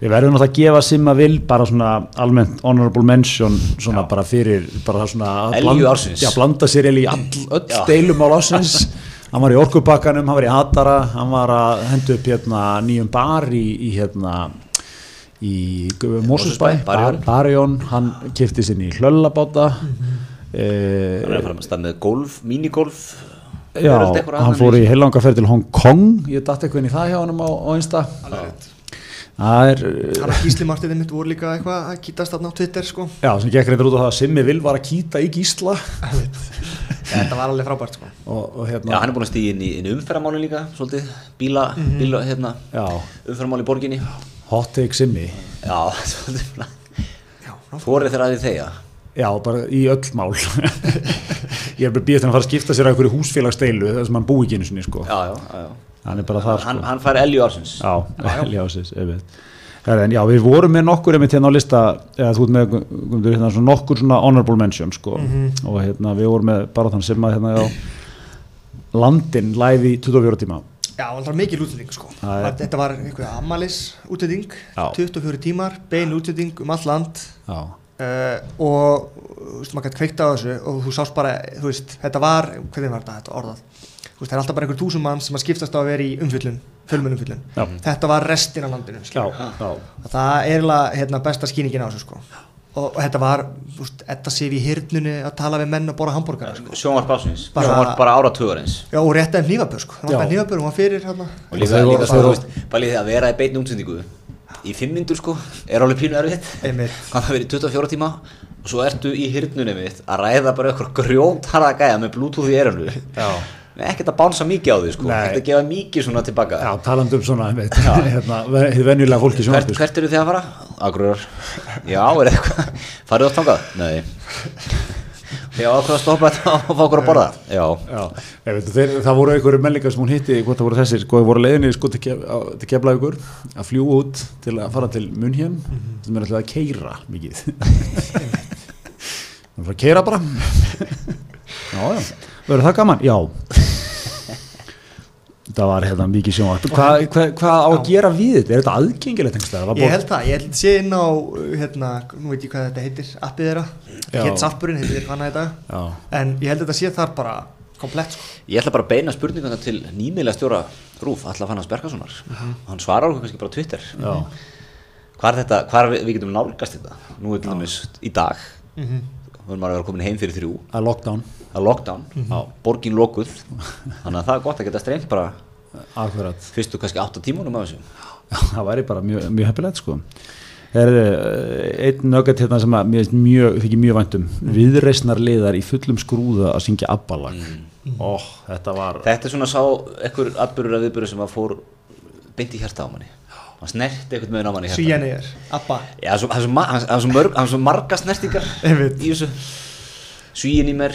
Við verðum náttúrulega að gefa Simma Vil bara svona almennt honorable mention svona bara fyrir bara það svona að
Elju ársins.
Já, blanda sér Elju í all, öll
Já.
deilum á ásins Hann var í orkubakkanum, hann var í Hatara hann var að henda upp hérna nýjum bar í, í hérna í Mósusbæ
Mosfellsbæ, Barjón.
Barjón, hann kipti sinni í hlöllabáta eh,
Þannig að fara með stað með golf, minigolf
Já,
veröld eitthvað
hann
annað
fór
með
í heilanga ferð til Hong Kong ég datt eitthvað inn í það hjá honum á, á einsta það er eh,
hann og Gísli Martinni mitt voru líka eitthvað að kýtast þarna á Twitter sko.
Já, sem gekk reyndar út á það að Simmi Vil var að kýta í gísla og,
þetta var alveg frábært sko.
og
Já,
hérna
hann er búin að stíða inn í, inn í umferðamálin líka Svolítið, bíla,
Mhm.
bíla, hérna
Já,
Umferðamál í borginni
hot take Simmi
Já, svolítið svona Fórið þeirra að því þegja
Já, bara í öll mál Ég er bara býðið þannig að fara að skipta sér að einhverju húsfélagsdeilu þar sem hann búi ekki einu sinni sko.
Já, já, já, já
hann er bara þar sko.
Hann, hann fær elju ársins
Já, ljásis, einmitt Herra, en já, við vorum með nokkur einmitt hérna á lista eða þú ert með Guðmundur, hérna, svona nokkur svona honorable mention sko.
Mhm.
og hérna, við vorum með bara þann sem að hérna, já, landin læði 24 tíma
já, alltaf mikil útlending sko.
Það er-
þetta var einhver amalis útlending
Já.
24 tímar, bein útlending um all land
Já,
Uh, og þú veist, maður gæti kveikt á þessu og þú sást bara, þú veist, þetta var hvernig var þetta, þetta orðað þú veist, það er alltaf bara einhver túsum mann sem að skiptast á að vera í umfyllun fjölmenn umfyllun,
Já.
þetta var restin af landinu
já,
skilur.
já.
Og það er eiginlega, hérna, besta skýningin á þessu sko. og, og þetta var, þú veist, þetta sé við hirnunni að tala við menn og borða hambúrgara sko.
Sjónvarp ásins
Bara-
Sjónvarp bara áratugarins
já, og réttaði hnífabör, sko, það var
Já.
bara hnífabör hún var fyrir, hérna
og líka,
Þeir voru-
líka svo,
þeir
þú
voru-
veist, bara líka að vera í beinni útsendingu í fimm myndur sko, er alveg pínu erfitt
Einmitt.
hann það verið 24 tíma og svo ertu í hirnunum mitt að ræða bara ykkur grjóntarða gæja með bluetooth í erinu ekkert að bánsa mikið á því sko,
Nei.
ekkert að gefa mikið svona tilbaka
Já, talandi um svona, einmitt, hérna, hið venjulega fólki sem
hvert, hvert eru þið að fara? Akurur já, er eitthvað, farið á tangað? nei já, ákveða að stoppa þetta og fá okkur að borða já,
Já, ég veit, þeir, það voru einhverju menningar sem hún hitti, hvort það voru þessir, sko, það voru leiðinni sko, til, kef, á, til kefla ykkur að fljú út til að fara til Munhjem
Mhm.
sem er alltaf að keira mikið Það er að keira bara Já, já, verður það gaman? Já Það var hérna mikið sjónvarp Hvað hva, hva á að gera við þetta? Er þetta aðgengilegt einhvers staðar? Það var
ég
bara-
held það, ég held sé inn á uh, hérna, nú veit ég hvað þetta heitir, appið þeirra
Já.
hétt sarpurinn, heitir hvað hana í dag
Já.
en ég held að þetta sé þar bara komplett sko.
Ég ætla bara að beina spurninguna til nýmiðlega stjóra Rúf, Alla Fannans Bergasonar
Mhm.
Hann svarar okkur kannski bara á Twitter
Já.
Hvað er þetta, hvað er við, við getum nálgast þetta? Nú er til dæmis í dag mm -hmm. Hún maður að vera komin heim fyrir þrjú
að lockdown
Það er lockdown, borgin lokuð Þannig að það er gott að geta streymt bara
Akkurat
Fyrstu kannski 8 tímunum af þessu
það væri bara mjög, mjög heppilegt sko Herðu, eh, einn nöggat hérna sem að mér finnst mjög, þykir mjög væntum mm. viðreisnar liðar í fullum skrúða að syngja abbalag ó, þetta var
Þetta er svona sá ekkur atbyrður að viðbyrður sem að fór beint í hjarta á manni Hann snerti eitthvað með
Hérna.
náman í hjarta
Svíjan er, Abba
Já, svo- það er svo ma- það er svo mörg- það er svo marga snertingar
Einmitt.
í þessu Svíin í mér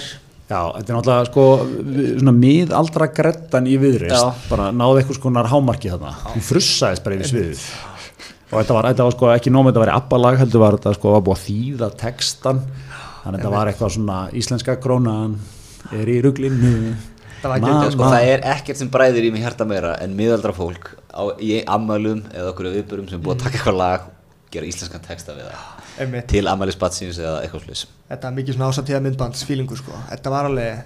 já, þetta er náttúrulega sko vi- svona miðaldra grettan í viðreist
Já.
bara náði eitthvað skonar hámarki þarna hún frussaðist bara yfir sviðið og þetta var, þetta var sko ekki nómið þetta væri abbalag heldur var þetta sko var búið að þýða textan þannig að þetta var eitthvað svona íslenska krónan er í ruglinu
Það var ekki
Ma-
Já, sko,
ma-
það er ekkert sem bræðir í mig hjarta meira en miðaldra fólk á, í ammælum eða okkur viðbörum sem er búið að taka eitthvað lag gera íslenskan texta við það
einmitt.
til ammælisbatsins eða eitthvað slis
Þetta er mikið svona ásatíða myndbands fílingu sko. Þetta var alveg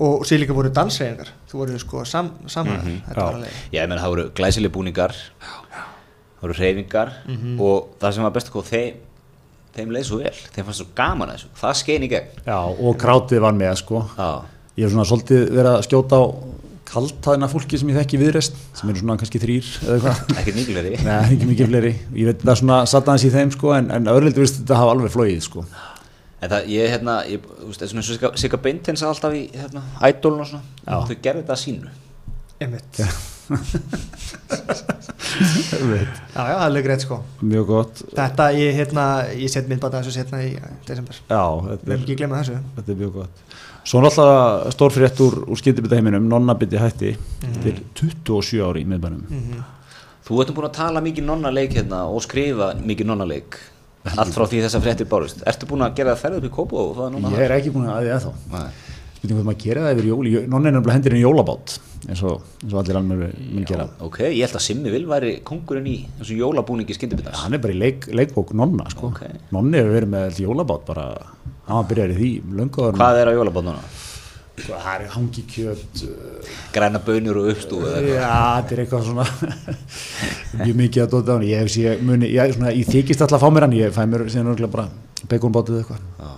og sér líka voru dansreyingar þú voru sko sam, saman þetta var
Mhm, Já.
alveg
Já, ég menn það voru glæsileg búningar það voru reyfingar og það sem var best að þeim þeim leið svo vel, þeim fannst svo gaman að þessu það skein í gegn
Já, og krátið var með sko.
Já,
Ég hef svona svolítið verið að skjóta á kaltaðina fólki sem ég þekki í viðrest sem eru svona kannski þrýr eða eitthvað
ekkert nýgulegri
Nei, ekki mikið fleiri Ég veit það svona satt aðeins í þeim sko, en, en öðrildi vist þetta hafa alveg flóið sko.
En það, ég, hérna, ég, þú veist, eins og Sigga- Sigga Beintens alltaf í, hérna, ædólun og svona, þau gerðu þetta að sínu.
Einmitt Já, já, það er lög rétt sko
mjög gott
Þetta, ég, hérna, ég set myndbata þessu setna í uh, desember
já, þetta
Við erum
er,
ekki að glemma þessu
þetta er mjög gott svo náttúrulega stór frétt úr, úr skyndibita heiminum nonnabiti hætti til 27 ári í miðbænum
Þú ertum búin að tala mikið nonnaleik hérna og skrifa mikið nonnaleik, allt frá því þessa fréttir bárust. Ertu búin að gera það ferð upp í Kópó og það er núna
ég er ekki búin að því að þá spurning hvað maður gera það yfir jóli nonni er nefnilega hendir en jólabát eins og, eins og allir alveg mun gera
Ok, ég held að Simmi Vil væri kongurinn í þessu jólabúningi skyndibitans.
hann er bara í leik, leikbók nonna sko.
Ok.
nonni hefur verið með all jólabát bara hann var byrjar í því löngu áður en-
Hvað er á jólabátt núna?
það er hangi kjöt
Græna bönur og uppstúðu eða eitthvað.
já, þetta er eitthvað svona mjög mikið að dóta á hann ég, hef sé, muni, ég, svona, ég þykist alltaf að fá mér hann ég fæ mér síðan örgulega bara baconbátið eitthvað
Já.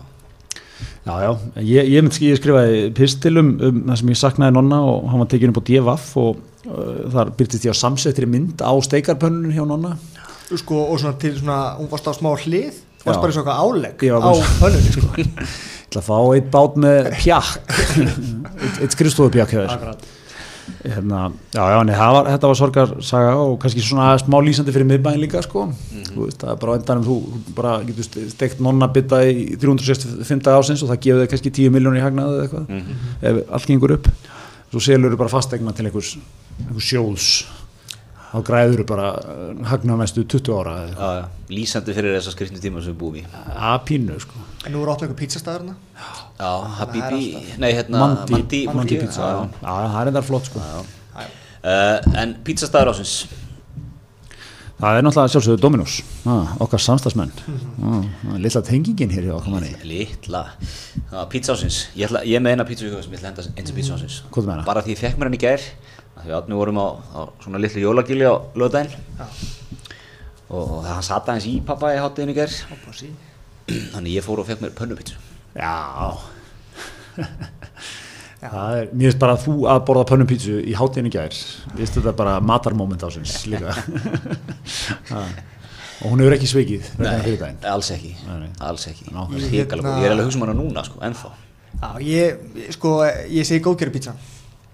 já, já, ég, ég, mynd, ég skrifaði pistil um, um það sem ég saknaði nonna og hann var tekinn upp á DFF og uh, þar byrtist ég á samsettri mynd á steikarpönnun hjá nonna
Sko, og svona til svona, hún varst á smá hlið Þú varst
Já.
bara í svona álegg
Ég var
á
bara-
hönnunni sko
Ég ætla að fá eitt bát með pjakk eitt, eitt skrifstofu pjakk hjá þér
Akkurat
hérna, já, já, nei, það var, þetta var sorgarsaga og kannski svona smá lýsandi fyrir miðbæn líka sko. þú veist, það er bara á endanum þú þú bara getur ste- steikt nonnabita í 365 dag ásins og það gefur þig kannski 10 miljónir í hagnaði eða eitthvað ef allt gengur upp svo selur þú bara fastegna til einhvers, einhvers sjóðs þá græður þú bara eh, hagnað mestu 20 ára eða eitthvað.
Já, já. Lýsandi fyrir þessa skrifnu tíma sem við búum í.
að pínu sko.
En nú er opnað ykkur pizzastæðurna
Já, Habibi, nei hérna,
Mandi,
Mandi,
Mandi
já,
pizza
já.
já, það er endar flott sko.
Uh, en pítsastæður ásins
það er náttúrulega sjálfsögðu Dominos ah, okkar samstagsmenn ah, ah, litla tengingin hér hjá okkar manni
Lítla Pítsa ásins Ég, ætla, ég er með eina pítsu í huga sem ég ætla að henda eins og pítsa ásins
Mm. Hvað ertu með hana?
Bara því ég fekk mér hann í gær af Því að við vorum á, á svona litlu jólagili á löðdæn Og og það hann sata hans í pappa í hátteginu í gær
Oppa sí
Þannig ég fór og fekk mér pönnupítsu
Já Það er, mér finnst bara þú að borða pönnupítsu í hátíðinu gær Mér finnst þetta bara matarmoment ásins líka Ha. Og hún hefur ekki sveikið vegna fyrir daginn
alls ekki
Nei, nei.
Alls ekki
Ná.
Hrikalega góð. Ég er alveg að hugsa um hana núna, sko, ennþá
Já, ég, sko, ég segi góðgerðu pizza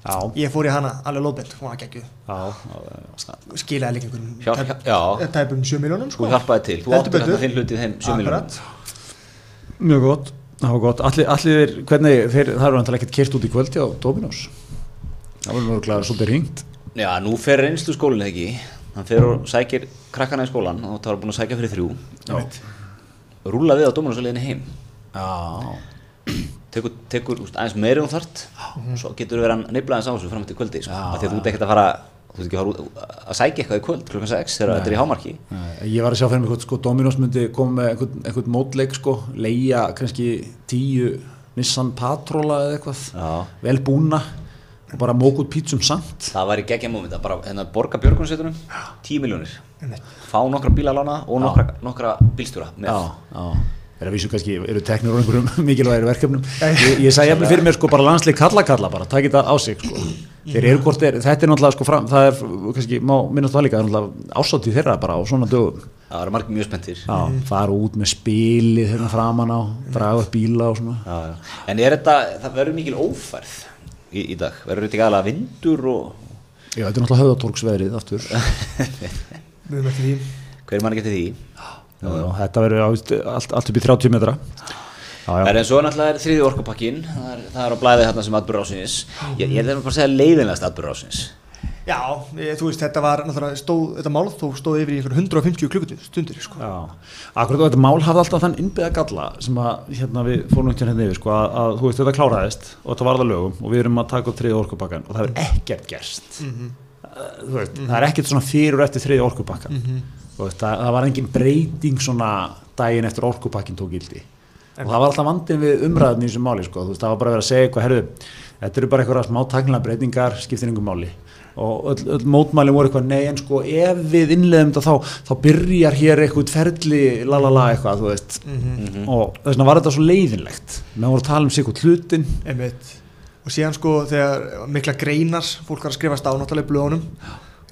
Já,
Ég fór í hana alveg lóðbent, hún var geggjuð
já,
Skilaði líka einhverjum
Hjálp-
tæp-
já.
Tæpum 7 miljónum sko
Þú hjálpaði til, þú
Heldur
áttir hérna
betur.
þinn hlutið þeim 7 miljonum
Akkurat.
mjög gott Það var gott, allir, allir þeir, hvernig, þeir, það eru náttúrulega ekkert kert út í kvöldi á Dominos Það voru náttúrulega svolítið ringt
Já, nú fer reynslu skólinn ekki Hann fer og sækir krakkana í skólan og það var búin að sækja fyrir þrjú Rúla við á dómarnarsaliðinni heim
Já,
Tekur, tekur úst, aðeins meira um þart Svo getur verið að nefla aðeins á þessu fram til kvöldi sko.
Mhm. Já,
Af Því að þú ert ekkert að fara Þú ert ekki að fara út að sækja eitthvað í kvöld klukkan 6 þegar þetta er í hámarki
Nei, Eh, Ég var að sjá fyrir mig hvort sko Dominos myndi koma með einhvern, einhvern mótleik sko, leia kannski tíu Nissan Patrola eða eitthvað,
Já.
vel búna og bara mók út pítsum samt.
Það var í geggja mómenta, bara hérna borga björgunsveitunum 10 miljónir
Einmitt.
Fá nokkra bílalána og nokkra, nokkra bílstjóra með
já. Er að vísu kannski, eru teknir úr einhverjum mikilvægir verkefnum. Ég, ég sagði jafnvel fyrir mér sko bara landsleik kalla-kalla bara, takk þetta á sig sko. Þeir eru hvort þeir, þetta er náttúrulega sko fram, það er kannski, má minnast það líka, það er náttúrulega ásáttið þeirra bara á svona dögum. Mm.
Það eru margir mjög spenntir
Já, fara út með spilið hérna framan á, draga upp bíla og svona.
já, já. En er þetta, það verður mikil ófærð í, í dag, verður þetta ekki aðalega vindur og
Já, þetta er náttúrulega höfðatorgsveðrið aftur.
Við höfum eftir því
hver mann getið því
Já, já, þetta verður á- allt, allt upp í 30 metra já,
Það
já.
er eins og náttúrulega er þriði orkupakkin það er, það er á blæði þarna sem atbyrður ásins ég, ég er bara að segja leiðinlegast atbyrður ásins
Já, ég, þú veist, þetta var náttúrulega stóð, þetta málþó stóð yfir í einhver 150 klukkutu stundir, sko.
Já. Akkurat og þetta mál hafði alltaf þann innbyggða galla sem að hérna, við fórum ekki hérna yfir sko, að, að þú veist þetta kláraðist og þetta varða lögum og við erum að taka upp þriði orkupakkan og það er ekkert gerst mm veist, það er ekkert svona fyrir og eftir þriði orkupakkan mm veist, það, það var engin breyting svona daginn eftir orkupakkin tók gildi og það var alltaf vandin við umræðin í þessu máli sko, þú veist, það var bara verið að segja eitthvað herðu, þetta eru bara eitthvað smá tæknilega breytingar skiptir engum máli og öll, öll mótmælum voru eitthvað nei en sko ef við innleðum þetta þá þá byrjar hér eitthvað ferli la la la eitthvað þú veist
Mhm.
og þess vegna var þetta svo leiðinlegt menn voru að tala um sig eitthvað hlutin
Einmitt. Og síðan, sko, þegar mikla greinar, fólk var að skrifast á náttúrulega í blöðunum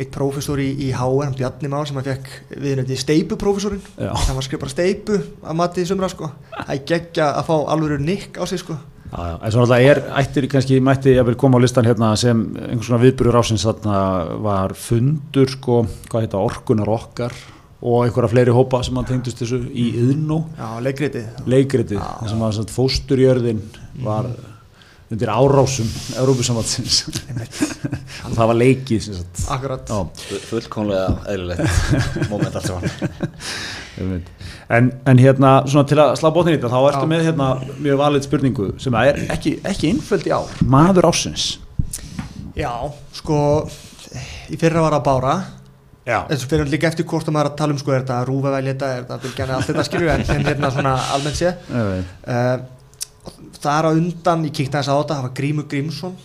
eitt prófessor í, í HR, Bjarni Már sem að fekk viðnöndi steipuprófessorinn
Já.
hann var skrifað steipu að matið í sumra sko. það er geggja að fá alvöru nikk á sig sko.
Já, já, en svo náttúrulega er, ættir kannski, mætti ég vil koma á listan hérna sem einhvers svona viðbyrjur ásins þarna var fundur, sko, hvað heita, orkunar okkar og einhverja fleiri hópa sem hann tengdust þessu í yðnú,
já, leikritið
leikritið, þar sem var svona fósturjörðin var undir árásum Európusamvatsins og það var leikið, sem sagt.
akkurat
Já.
Fu- fullkomlega eðlilegt moment allt saman
Einmitt. En, en hérna, svona til að slá bóttin í þetta, þá ertu með hérna mjög valið spurningu sem er ekki, ekki einföld í ár. Maður ásins.
Já, sko í fyrra var að bára
Já.
en svo fyrir líka eftir hvort að maður er að tala um sko, er þetta rúfavæli þetta, er þetta bylgjana allt þetta skilur en, en hérna svona almennt sé uh, þar á undan, ég kíkti aðeins á þetta það var Grímur Grímsson,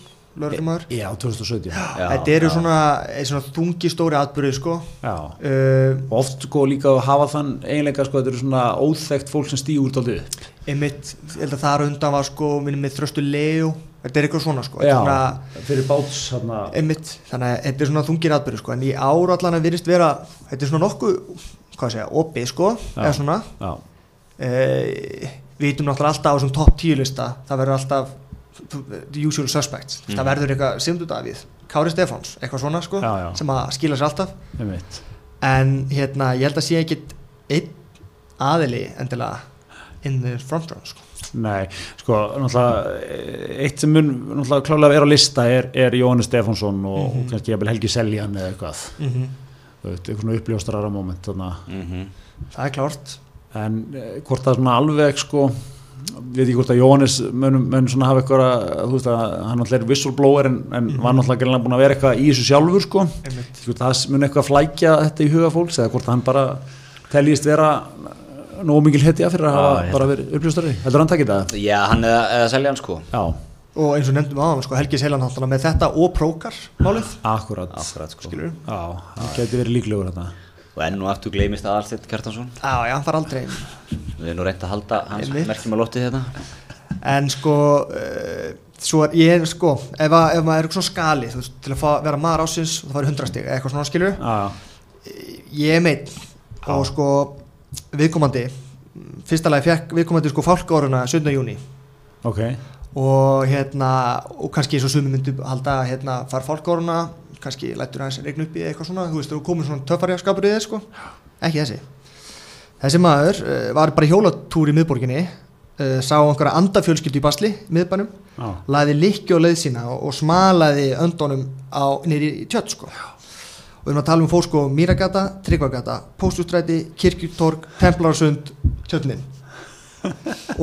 lögurumöður
Já, 2017.
Já,
þetta eru
já.
svona, eh, svona þungi stóri atbyrði sko
Já.
uh,
Og oft sko líka að hafa þann eiginleika sko þetta eru svona óþekkt fólk sem stýgur út á liðu.
einmitt, ég held að þar á undan var sko minni með þröstu leu þetta er eitthvað svona sko þetta er
Já,
svona,
fyrir báts hérna.
einmitt, þannig að þetta er svona þungir atbyrðu sko, en í ár allan að virðist vera þetta er svona nokkuð, hvað segja, opið sko, eða svona
Já,
e, við vitum náttúrulega alltaf á þessum topp 10 lista, það verður alltaf the usual suspects, það verður eitthvað Simdu Davíð, Kári Stefáns, eitthvað svona sko,
Mhm. Já, já.
sem að skila sér alltaf
einmitt.
en hérna, ég held að sé ekkit einn aðili endilega in the front run sko.
Nei, sko, náttúrulega, eitt sem mun náttúrulega klálega vera á lista er, er Jóhannes Stefánsson og, og kannski jafnvel Helgi Seljan eða eitthvað.
Mhm.
Þú veit, eitthvað svona uppljóstrara moment þarna.
það er klárt
En eh, hvort það er svona alveg, sko, við ekki hvort að Jóhannes mun, mun svona hafa eitthvað, að- þú veist að hann náttúrulega er whistleblower en, en var náttúrulega greinlega búin að vera eitthvað í þessu sjálfur, sko.
einmitt
Sko, það mun eitthvað flækja þetta í huga fólks eða hvort hann bara teljist vera nógu mikil hetja fyrir að
Já,
hafa
ég held
bara verið uppljóstari heldur hann takkir það?
Já, hann eða, eða selja hann sko
Já,
og eins og nefndum á hann, sko, Helgi Seilan náttúrulega með þetta og prókar málið
akkurat
Akkurat sko
skilur
Já, hann geti verið líklegur þetta
Og enn og aftur gleymist að Alstedt Kjartansson
Já, já, hann far aldrei inn.
Við erum nú reynd að halda hans
Einmitt.
merkjum hérna. að lotti þetta
En sko, uh, svo er ég, sko, ef, að, ef maður er eitthvað svona skali, þú veist, til að fá, vera maður ásins, þá fari 100 stig, eða eitthvað svona skilur,
Já,
ég er meitt. Og sko, viðkomandi, mm, fyrsta lagi fekk viðkomandi sko fálkóruna 17. júni
ok
og hérna, og kannski eins og sumi myndu halda, hérna, far fálkóruna, kannski lætur hans regn upp í eitthvað svona, þú veist, þú komið svona töffarjaskapur í þér, sko, ekki þessi. Þessi maður uh, var bara í hjólatúr í miðborginni, uh, sá einhverja andafjölskyldu í basli, miðbænum,
Já,
laði likki á leið sína og, og smalaði öndunum á, nýri í tjött sko. og við erum að tala um fór sko Mýragata, Tryggvagata, Póstustræti Kirkjutorg, Templarsund tjötnin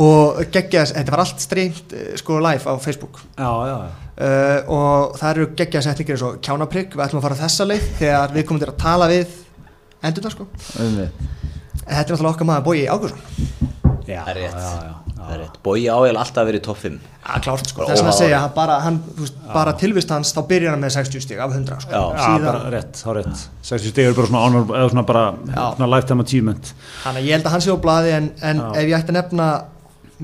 og geggjaðs, þetta var allt streymt eh, sko live á Facebook
já, já,
uh, og það eru geggjaðs etningir eins og kjánaprygg, við ætlum að fara þessa leið þegar við komum til að tala við endurna sko,
einmitt.
en þetta er náttúrulega okkar maður Bói Ágúrsson,
já
Það er rétt.
já, já, já.
Það er rétt Bói áhjál alltaf verið topp 5
að klárt sko
Bara
þess að
óháður.
segja, hann bara, hann, þú veist, bara tilvist hans þá byrjar hann með 60 stík af 100 sko,
Já.
Já,
síðan
bara rétt, þá rétt 60 stig eru bara svona, honor, eða svona, bara,
Já.
svona lifetime achievement
Þannig að ég held að hann sé á blaði en, en
Já.
ef ég ætti að nefna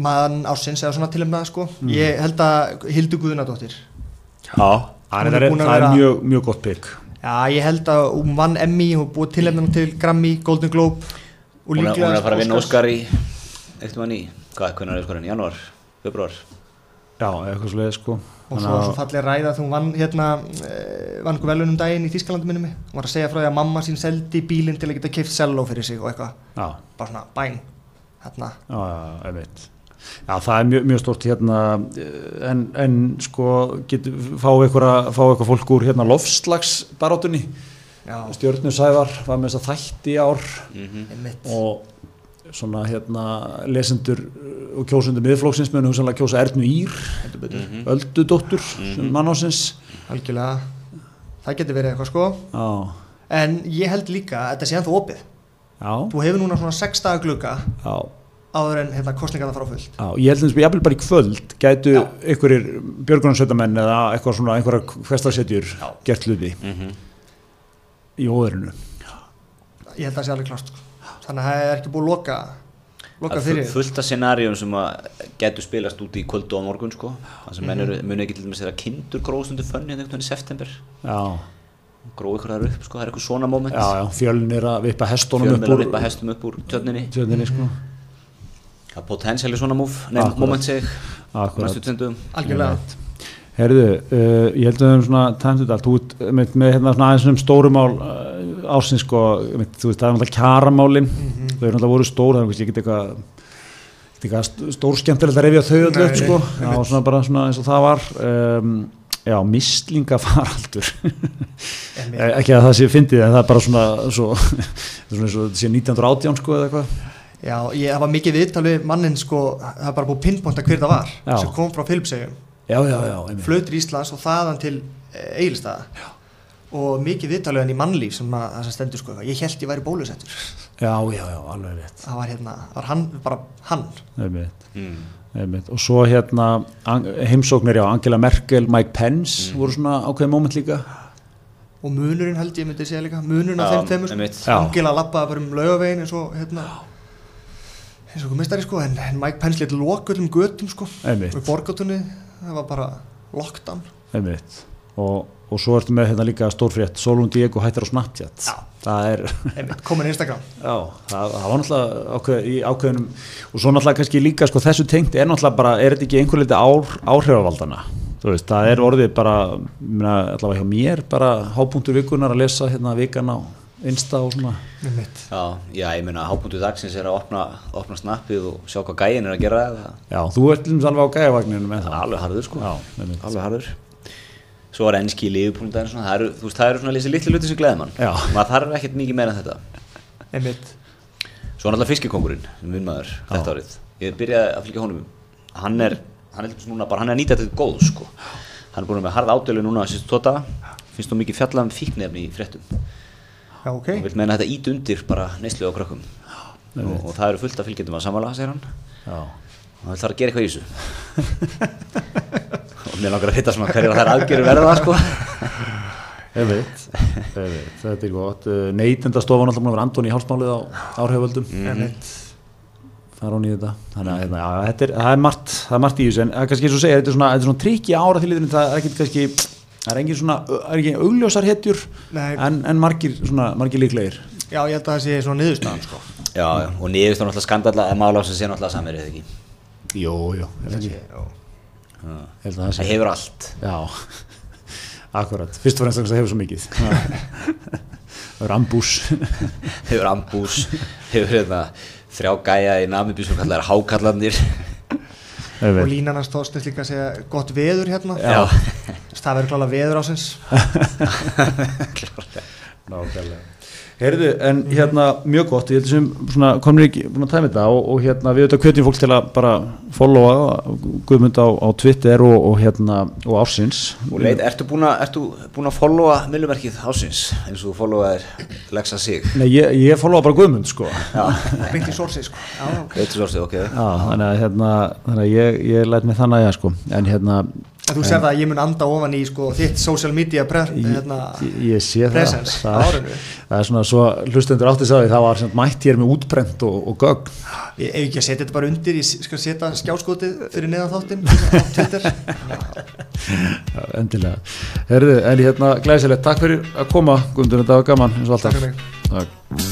mann ásins eða svona tilumnaða sko
Mm.
ég held að Hildur Guðnadóttir
Já
Það er,
Hún er
það er,
búin
það
að
er
vera-
mjög, mjög gott pík
Já, ég held að hún vann Emmy og búið tilumnaðum til Grammy, Golden Globe og
Hún er, hún er að fara að vinna
Óskars.
Óskar í Eitt mann í Hvað, hvernig er Óskarinn? Janúar? Februar?
Já, eitthvað svolítið sko
og
Þannig
svo,
að-
svo fallir ræða þegar hún vann hérna, uh, vann einhver velunum daginn í Þískalandu minni mig, hún var að segja frá því að mamma sín seldi bílinn til að geta keift selló fyrir sig og eitthvað,
Já,
bara svona bæn hérna,
Já, já, einmitt. Já, það er mjög, mjög stort hérna, eh, en, en sko, get, fá eitthvað fá eitthvað fólk úr hérna lofslagsbarátunni,
já,
stjórnusævar, var með þess að þætti í ár
einmitt
og svona hérna lesendur og kjósundur miðflóksins munu húsanlega kjósa Ernu Ír,
heldur betur,
Mhm. öldudóttur, sem mannásins.
algjörlega það getur verið eitthvað sko
Já,
En ég held líka að þetta sé ennþá opið.
já,
Þú hefur núna svona 6 daga glugga
já.
áður en hérna kostningarna fara á fullt.
Já, ég held að ég jafnvel bara í kvöld gætu einhverjir björgunarsveitamenn eða eitthvað svona, einhverja hverstaðsetjur gert hluti í óðurinu.
Ég held að það sé alveg klart. sko. Þannig að það er ekki búið að loka, loka
Það er
fyrir.
fu- fullt af scenarium sem að getur spilast út í kvöldu á hérna morgun sko Það sem menn eru, muni ekki til dæmis þeirra kindur gróðstundu fönni en einhvern veginn í september
Já,
grói ykkur þar upp, sko, það er eitthvað svona moment
já, já, fjölnir að vippa hestunum upp
fjölmjöla
úr
ripa hestum upp úr tjörninni
tjörninni, sko.
það er potensiali svona múf, nei,
Akkurat.
moment seg
Akkurat.
næstu tundum
algjörlega
Herðu, uh, ég held að við höfum svona tæmt þetta allt út með, með hérna svona aðeins um stórumál uh, ársins sko, með, þú veist, það er náttúrulega kjaramálin, þau eru náttúrulega voru stór, það er kannski ekkert eitthvað ekkert eitthvað st- stórskemmtilegt að reyfja þau öll
Nei,
upp sko,
nei,
já, svona bara svona eins og það var, um, já, mislingafaraldur, Eh,
Einmitt.
ekki að það sé fyndið en það er bara svona, svo, svona eins og þetta sé 1918 sko eða eitthvað,
já, ég hafa mikið viðtal við mannin sko, það er bara búið pinpointa hver það var
Já.
sem kom frá Filipsegjum
já, já, já, einmitt,
flutur Íslands og þaðan til Egilstaða og mikið viðtalöðan í mannlíf sem að það sem stendur sko eitthvað, ég held ég væri bólusettur
já, já, já, alveg rétt,
það var hérna, það var hann, bara hann
einmitt.
Hmm.
mm.
Einmitt. og svo hérna ang- heimsóknir já, Angela Merkel, Mike Pence voru svona ákveðið moment líka
og munurinn held ég myndi segja líka munurinn af
Já,
þeim þeimur
einmitt.
sko.
Já.
Angela lappaði bara um laugavegin eins og hérna eins og okkur mistari sko en, en Mike Pence leitt lokullum götum sko
Einmitt.
og borgatunni það var bara lockdown
Einmitt. og, og svo ertu með hérna líka stórfrétt Solon Diego hættir á Snapchat
Já.
það er
Einmitt, komin í Instagram
já, það, það var náttúrulega ákveð, í ákveðinum og svo náttúrulega kannski líka sko, þessu tengt er náttúrulega bara, er þetta ekki einhver liti ár, áhrifavaldana Þú veist, það er orðið bara minna, allavega hjá mér bara hápunktur vikunar að lesa hérna vikan á Insta og svona
Einmitt.
já, já, ég meina hábúndu dagsins er að opna, opna snappið og sjá hvað gæin er að gera það
já, þú ert til dæmis alveg á gæjavagninu með
það
það
er alveg harður sko
Já, einmitt.
alveg harður svo var ennski í liðupúndaginn svona, það eru, þú veist, það eru svona lýsi litli hluti sem gleði mann
Já.
maður þarf ekkert mikið meira en þetta
Einmitt.
Svo er alltaf fiskikongurinn, minn maður, þetta árið. Ég byrjaði að fylgja honum. Hann er, hann er, til dæmis núna, bara, hann er að nýta þetta til góð, sko. Hann er búin með harða ádölu núna sýstu tóta. Finnst þú mikið fjallað um fíknefni í fréttum.
já ok
Hann vil meina þetta ít undir bara neyslu á krökkum. Og, og það eru fullt af fylgjendum að samala, segir hann.
já
Hann vil þarf að gera eitthvað í þessu. og mér langar að hitta svona hverjar þær aðgerður verða, sko.
Einmitt, einmitt, þetta er gott Eh, Neytendastofan alltaf búin að vera Antoni í hálsmálið á árhefvöldum
Einmitt.
Það er hún í þetta Þannig að hérna, já, þetta er, það er margt, það er margt í þessu en það er kannski eins og segja, þetta er svona, þetta er svona trikki ára til liðinu, það er ekkert kannski það er engin svona, það er engin augljósar hetjur
Nei.
en, en margir, svona, margir líklegir
já ég held að það sé svona niðurstaðan sko
Já, já. Og niðurst er náttúrulega skandalla, en mála á sem sé náttúrulega samir, eða ekki.
Jó, jó, ég held að
Já.
það sé
Það hefur allt.
Já, akkurat, fyrst og fremst að það hefur svo mikið Rambús
hefur ambús, hefur hérna, þrjá gæja í Namibí sem kallar hákallandir
og línan hans tóðsnes líka að segja gott veður hérna
Já.
það verður klála veður ásins
Nákvæmlega. Herðu, en hérna, mjög gott, ég held sem svona, komnir ekki búin að tæmi þetta og, og hérna, við auðvitað kvetjum fólk til að bara followa Guðmund á, á Twitter og, og hérna, og Ársins.
og leit, ertu búin að, ertu búin að followa millumerkið ásins eins og þú followaðir Lexa Sig
Nei, ég, ég followa bara Guðmund, sko.
Já,
beint í sorsi sko já, ok.
veitur svo ástu, ok
Já, þannig að, hérna, þannig að ég, ég læt mig þannig að, ég, sko, en hérna,
En þú sér það að ég mun anda ofan í sko, þitt social media pre, hérna,
ég, ég sé það.
presence á
Það,
árinu.
það er svona, svo hlustendur átti sagði, það var sem sagt mætt hér með útbrent og, og gögn.
Ég, ef ég ekki að setja þetta bara undir, ég skal setja skjáskotið fyrir neðan þáttinn á Twitter.
Já, Endilega. Herðu, en hérna, glæsilegt, takk fyrir að koma, Guðmundur, þetta var gaman, eins og alltaf.
Takk fyrir mig.
Takk.